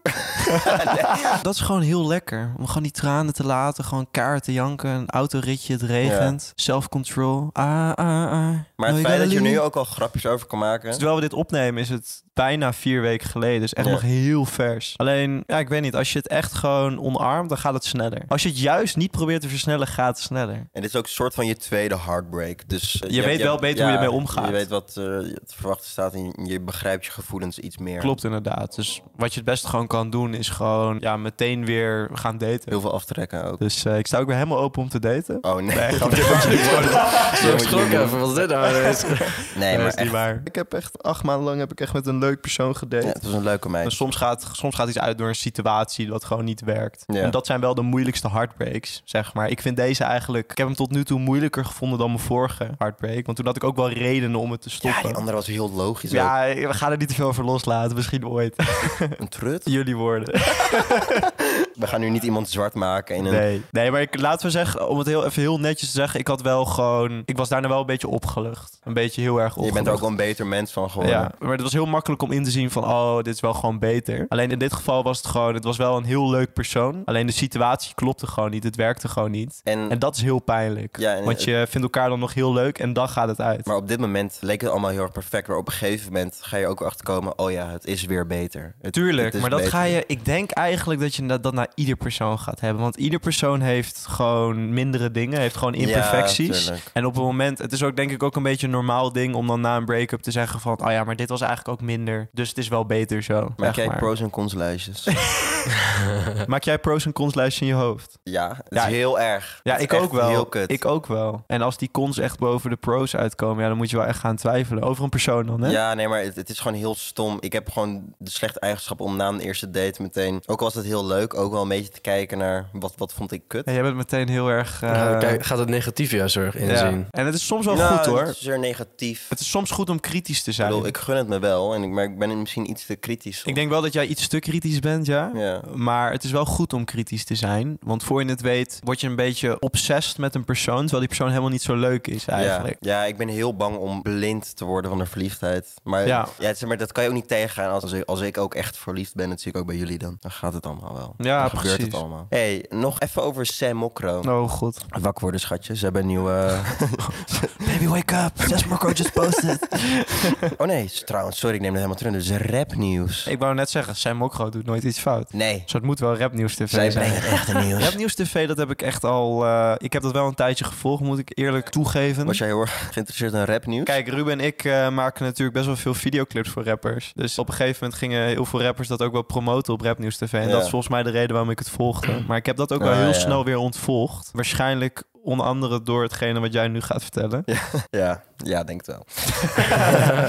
[SPEAKER 1] Dat is gewoon heel lekker. Om gewoon die tranen te laten, gewoon kaarten te janken, een autoritje, het regent, self-control. Ah, ah, ah.
[SPEAKER 4] Maar het feit dat je er nu ook al grapjes over kan maken...
[SPEAKER 1] Terwijl we dit opnemen is het bijna vier weken geleden. Dus echt
[SPEAKER 4] Ja.
[SPEAKER 1] nog heel vers. Alleen, ja, ik weet niet. Als je het echt gewoon omarmt, dan gaat het sneller. Als je het juist niet probeert te versnellen, gaat het sneller.
[SPEAKER 4] En dit is ook een soort van je tweede heartbreak. Dus eh,
[SPEAKER 1] Je weet wel beter hoe je ermee omgaat.
[SPEAKER 4] Je weet wat eh, je te verwachten staat en je begrijpt je gevoelens iets meer.
[SPEAKER 1] Klopt inderdaad. Dus wat je het beste gewoon kan doen, is gewoon ja, meteen weer gaan daten.
[SPEAKER 4] Heel veel aftrekken ook.
[SPEAKER 1] Dus eh, ik sta ook weer helemaal open om te daten.
[SPEAKER 4] Oh nee.
[SPEAKER 1] Nee,
[SPEAKER 4] Nee,
[SPEAKER 1] grapje.
[SPEAKER 2] Zo schrok even, wat is dit nou? ineens?
[SPEAKER 1] Nee,
[SPEAKER 4] maar
[SPEAKER 1] is niet
[SPEAKER 4] echt.
[SPEAKER 1] waar. Ik heb echt acht maanden lang heb ik echt met een leuk persoon gedate.
[SPEAKER 4] Ja, het was een leuke
[SPEAKER 1] En
[SPEAKER 4] meid.
[SPEAKER 1] soms gaat, soms gaat iets uit door een situatie dat gewoon niet werkt.
[SPEAKER 4] Ja.
[SPEAKER 1] En dat zijn wel de moeilijkste heartbreaks, zeg maar. Ik vind deze eigenlijk... Ik heb hem tot nu toe moeilijker gevonden dan mijn vorige heartbreak. Want toen had ik ook wel redenen om het te
[SPEAKER 4] Ja, die
[SPEAKER 1] stoppen.
[SPEAKER 4] andere was heel logisch. ook.
[SPEAKER 1] Ja, we gaan er niet te veel over loslaten. Misschien ooit.
[SPEAKER 4] Een trut.
[SPEAKER 1] Jullie woorden.
[SPEAKER 4] We gaan nu niet iemand zwart maken in een...
[SPEAKER 1] Nee. Nee, maar ik, laten we zeggen, om het heel, even heel netjes te zeggen... Ik had wel gewoon... Ik was daarna wel een beetje opgelucht. Een beetje heel erg
[SPEAKER 4] Je
[SPEAKER 1] opgelucht.
[SPEAKER 4] bent er ook wel een beter mens van geworden.
[SPEAKER 1] Ja, maar het was heel makkelijk om in te zien van, oh, dit is wel gewoon beter. Alleen in dit geval was het gewoon, het was wel een heel leuk persoon. Alleen de situatie klopte gewoon niet, het werkte gewoon niet.
[SPEAKER 4] En,
[SPEAKER 1] En dat is heel pijnlijk.
[SPEAKER 4] Hm. Ja, en- eh,
[SPEAKER 1] want je vindt elkaar dan nog heel leuk en dan gaat het uit.
[SPEAKER 4] maar op dit moment leek het allemaal heel erg perfect. Maar op een gegeven moment ga je ook achterkomen... oh ja, het is weer beter. Het-
[SPEAKER 1] Tuurlijk,
[SPEAKER 4] het is
[SPEAKER 1] maar dat
[SPEAKER 4] beter.
[SPEAKER 1] ga je. Ik denk eigenlijk dat je dat, dat na bijna ieder persoon gaat hebben. Want ieder persoon heeft gewoon mindere dingen, heeft gewoon imperfecties.
[SPEAKER 4] tuurlijk.
[SPEAKER 1] en op het moment, het is ook denk ik ook een beetje een normaal ding om dan na een break-up te zeggen van, oh ja, maar dit was eigenlijk ook minder, dus het is wel beter zo.
[SPEAKER 4] Maar
[SPEAKER 1] Echt
[SPEAKER 4] kijk,
[SPEAKER 1] maar.
[SPEAKER 4] pros en cons lijstjes.
[SPEAKER 1] Maak jij pros en cons lijstje in je hoofd?
[SPEAKER 4] ja, het
[SPEAKER 1] Ja,
[SPEAKER 4] is heel erg.
[SPEAKER 1] Ja,
[SPEAKER 4] Het is
[SPEAKER 1] ik
[SPEAKER 4] echt
[SPEAKER 1] ook wel.
[SPEAKER 4] Heel kut.
[SPEAKER 1] Ik ook wel. En als die cons echt boven de pros uitkomen, ja, dan moet je wel echt gaan twijfelen. Over een persoon dan, hè?
[SPEAKER 4] Ja, nee, maar het, het is gewoon heel stom. Ik heb gewoon de slechte eigenschap om na een eerste date meteen... Ook al was het heel leuk, ook wel een beetje te kijken naar wat, wat vond ik kut.
[SPEAKER 1] Ja, jij bent meteen heel erg... eh,
[SPEAKER 2] Ja, Nou, kijk, gaat het negatief juist erg
[SPEAKER 1] ja.
[SPEAKER 2] inzien.
[SPEAKER 1] En het is soms wel
[SPEAKER 4] Nou,
[SPEAKER 1] goed, hoor.
[SPEAKER 4] Het is er negatief.
[SPEAKER 1] Het is soms goed om kritisch te
[SPEAKER 4] Ik
[SPEAKER 1] zijn.
[SPEAKER 4] bedoel, ik gun het me wel, en ik, maar ik ben misschien iets te kritisch.
[SPEAKER 1] Ik denk wel dat jij iets te kritisch bent, ja.
[SPEAKER 4] Ja.
[SPEAKER 1] Maar het is wel goed om kritisch te zijn. Want voor je het weet, word je een beetje obsessed met een persoon. Terwijl die persoon helemaal niet zo leuk is,
[SPEAKER 4] Ja,
[SPEAKER 1] eigenlijk.
[SPEAKER 4] ja, ik ben heel bang om blind te worden van de verliefdheid. Maar,
[SPEAKER 1] Ja.
[SPEAKER 4] ja. zeg maar dat kan je ook niet tegengaan. Als, als, ik, als ik ook echt verliefd ben, dat zie ik ook bij jullie dan. Dan gaat het allemaal wel.
[SPEAKER 1] Ja,
[SPEAKER 4] dan gebeurt
[SPEAKER 1] precies.
[SPEAKER 4] het allemaal. hey, nog even over Sam Mokro.
[SPEAKER 1] Oh, god.
[SPEAKER 4] Wakker worden, schatje. Ze hebben een nieuwe...
[SPEAKER 1] Baby, wake up. Zes Marco just posted.
[SPEAKER 4] oh nee, s- trouwens, sorry, ik neem dat helemaal terug. Dus rapnieuws.
[SPEAKER 1] ik wou net zeggen, Sam Mokro doet nooit iets fout.
[SPEAKER 4] Nee,
[SPEAKER 1] Dus het moet wel rapnieuws tv
[SPEAKER 4] zij
[SPEAKER 1] zijn.
[SPEAKER 4] brengen echt nieuws.
[SPEAKER 1] Rapnieuws TV, dat heb ik echt al... eh, ik heb dat wel een tijdje gevolgd, moet ik eerlijk toegeven.
[SPEAKER 4] Was jij heel erg geïnteresseerd in rapnieuws?
[SPEAKER 1] Kijk, Ruben en ik eh, maken natuurlijk best wel veel videoclips voor rappers. Dus op een gegeven moment gingen heel veel rappers dat ook wel promoten op Rapnieuws TV. En
[SPEAKER 4] Ja.
[SPEAKER 1] dat is volgens mij de reden waarom ik het volgde. Maar ik heb dat ook wel
[SPEAKER 4] Ah,
[SPEAKER 1] heel
[SPEAKER 4] ja.
[SPEAKER 1] snel weer ontvolgd. Waarschijnlijk onder andere door hetgene wat jij nu gaat vertellen.
[SPEAKER 4] Ja, ja, denk het wel.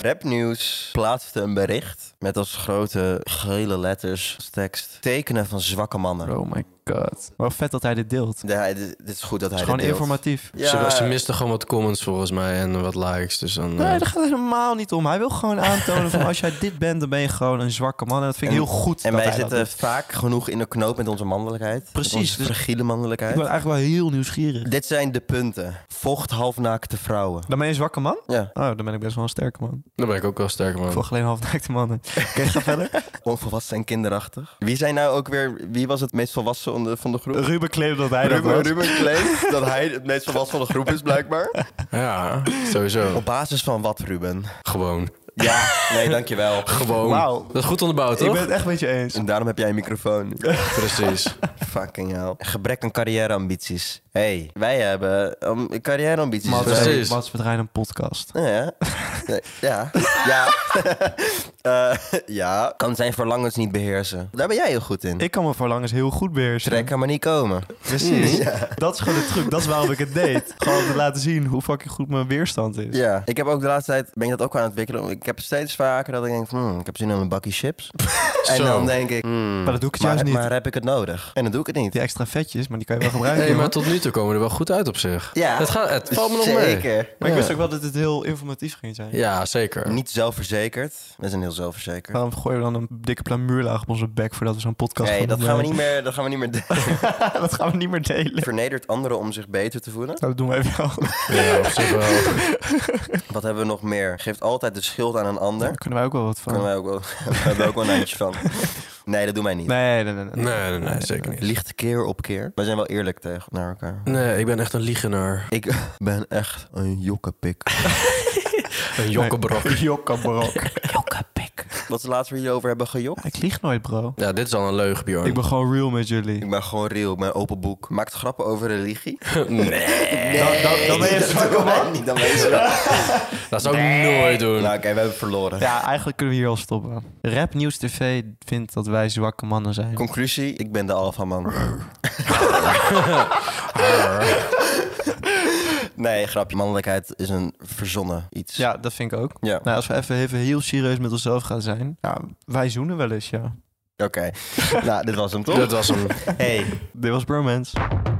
[SPEAKER 4] Rapnieuws plaatste een bericht met als grote gele letters als tekst tekenen van zwakke mannen.
[SPEAKER 1] Oh my god. Wel vet dat hij dit deelt. Het
[SPEAKER 4] Ja, dit, dit is goed dat
[SPEAKER 1] is
[SPEAKER 4] hij
[SPEAKER 1] gewoon
[SPEAKER 4] dit deelt.
[SPEAKER 1] informatief.
[SPEAKER 4] Ja,
[SPEAKER 2] Ze, ze misten gewoon wat comments volgens mij en wat likes. Dus dan, eh,
[SPEAKER 1] Nee, daar gaat het helemaal niet om. Hij wil gewoon aantonen van als jij dit bent, dan ben je gewoon een zwakke man. En dat vind ik
[SPEAKER 4] En-
[SPEAKER 1] heel goed.
[SPEAKER 4] en
[SPEAKER 1] dat
[SPEAKER 4] wij
[SPEAKER 1] hij dat
[SPEAKER 4] zitten
[SPEAKER 1] doet.
[SPEAKER 4] vaak genoeg in de knoop met onze mannelijkheid.
[SPEAKER 1] Precies,
[SPEAKER 4] Met onze
[SPEAKER 1] dus-
[SPEAKER 4] fragiele
[SPEAKER 1] Ik
[SPEAKER 4] mannelijkheid.
[SPEAKER 1] ben eigenlijk wel heel nieuwsgierig.
[SPEAKER 4] Dit zijn de punten. Vocht halfnaakte vrouwen.
[SPEAKER 1] Dan ben je een zwakke man?
[SPEAKER 4] Ja,
[SPEAKER 1] Oh, dan ben ik best wel een sterke man.
[SPEAKER 2] dan ben ik ook wel sterk,
[SPEAKER 4] Oh.
[SPEAKER 1] Ik
[SPEAKER 2] man.
[SPEAKER 1] volg alleen halfnaakte mannen. Oké, ga verder.
[SPEAKER 4] onvolwassen en kinderachtig. Wie zijn nou ook weer... Wie was het meest volwassen van de, van de groep?
[SPEAKER 1] Ruben claimt dat hij dat
[SPEAKER 4] Ruben,
[SPEAKER 1] was.
[SPEAKER 4] Ruben claimt dat hij het meest volwassen van de groep is, blijkbaar.
[SPEAKER 2] Ja, sowieso.
[SPEAKER 4] Op basis van wat, Ruben?
[SPEAKER 2] Gewoon.
[SPEAKER 4] Ja, nee, dankjewel.
[SPEAKER 2] Gewoon.
[SPEAKER 1] Wauw.
[SPEAKER 2] Dat is goed onderbouwd,
[SPEAKER 1] Ik
[SPEAKER 2] toch?
[SPEAKER 1] ben het echt met je eens.
[SPEAKER 4] En daarom heb jij een microfoon.
[SPEAKER 2] Precies.
[SPEAKER 4] Fucking hell. Gebrek aan carrièreambities. Hé, hey, wij hebben um, carrièreambities.
[SPEAKER 1] Mats,
[SPEAKER 4] Wij-
[SPEAKER 2] precies.
[SPEAKER 1] hey, Mats, we draaien een podcast.
[SPEAKER 4] Nou Ja. Nee, Ja. Ja. Eh, ja. Kan zijn verlangens niet beheersen. Daar ben jij heel goed in.
[SPEAKER 1] Ik kan me verlangens heel goed beheersen.
[SPEAKER 4] Trek kan maar niet komen.
[SPEAKER 1] Precies. Dat is gewoon de truc. Dat is waarom ik het deed. Gewoon om te laten zien hoe fucking goed mijn weerstand is.
[SPEAKER 4] Ja. Dus Ik heb ook de laatste tijd, ben ik dat ook aan het ontwikkelen. Ik heb steeds vaker dat ik denk, van, hmm, ik heb zin in een bakje chips. en
[SPEAKER 2] Zo.
[SPEAKER 4] dan denk ik, hmm,
[SPEAKER 1] Maar dat doe ik het
[SPEAKER 4] maar,
[SPEAKER 1] juist niet.
[SPEAKER 4] maar heb ik het nodig? En dan doe ik het niet.
[SPEAKER 1] Die extra vetjes, maar die kan je wel gebruiken.
[SPEAKER 2] Hey, maar
[SPEAKER 1] jongen.
[SPEAKER 2] tot nu toe komen we er wel goed uit op zich.
[SPEAKER 4] Ja.
[SPEAKER 2] Het, gaat, het valt me nog mee.
[SPEAKER 4] Zeker.
[SPEAKER 1] Maar ik wist ook wel dat het heel informatief ging zijn.
[SPEAKER 2] Ja, zeker.
[SPEAKER 4] Niet zelfverzekerd. We zijn heel zelfverzekerd.
[SPEAKER 1] Waarom gooien we dan een dikke plamuurlaag op onze bek voordat we zo'n podcast
[SPEAKER 4] Nee,
[SPEAKER 1] gaan
[SPEAKER 4] dat gaan we niet
[SPEAKER 1] opnemen?
[SPEAKER 4] meer, dat gaan we niet meer doen.
[SPEAKER 1] dat gaan we niet meer delen. Nou,
[SPEAKER 4] Vernedert anderen om zich beter te voelen.
[SPEAKER 1] Dat doen we even wel.
[SPEAKER 2] Ja, op zich wel.
[SPEAKER 4] Wat hebben we nog meer? Geeft altijd de schuld aan een ander.
[SPEAKER 1] Daar kunnen wij ook wel wat van.
[SPEAKER 4] Kunnen wij ook wel, we hebben ook wel een eindje van. Nee, dat doen wij niet.
[SPEAKER 1] Nee, nee, nee. nee.
[SPEAKER 2] Nee, nee, nee, zeker niet.
[SPEAKER 4] Liegt keer op keer. Wij zijn wel eerlijk tegen naar elkaar.
[SPEAKER 2] Nee, ik ben echt een liegenaar.
[SPEAKER 4] Ik ben echt een jokkepik.
[SPEAKER 2] Een jokkenbrok.
[SPEAKER 1] Jokkabrok.
[SPEAKER 4] Wat is het laatst waar jullie over hebben gejokt?
[SPEAKER 1] Ik lieg nooit, bro.
[SPEAKER 2] Ja, dit is al een leugen, Bjorn.
[SPEAKER 1] Ik ben gewoon real met jullie.
[SPEAKER 4] Ik ben gewoon real, ik ben open boek. Maakt grappen over religie?
[SPEAKER 2] Nee,
[SPEAKER 1] Dan, dan, dan ben je een zwakke man.
[SPEAKER 4] niet, dan weet je dat.
[SPEAKER 2] dat zou ik nooit doen.
[SPEAKER 4] Nou oké, we hebben verloren.
[SPEAKER 1] Ja, eigenlijk kunnen we hier al stoppen. Rap Nieuws TV vindt dat wij zwakke mannen zijn.
[SPEAKER 4] Conclusie, ik ben de alpha man. nee, grapje. Mannelijkheid is een verzonnen iets.
[SPEAKER 1] Ja, dat vind ik ook.
[SPEAKER 4] Ja.
[SPEAKER 1] Nou, als we even, even heel serieus met onszelf gaan zijn. Ja, wij zoenen wel eens, ja.
[SPEAKER 4] Oké. nou, dit was hem toch?
[SPEAKER 2] Dat was hem.
[SPEAKER 4] Hey,
[SPEAKER 1] Dit was Bromance.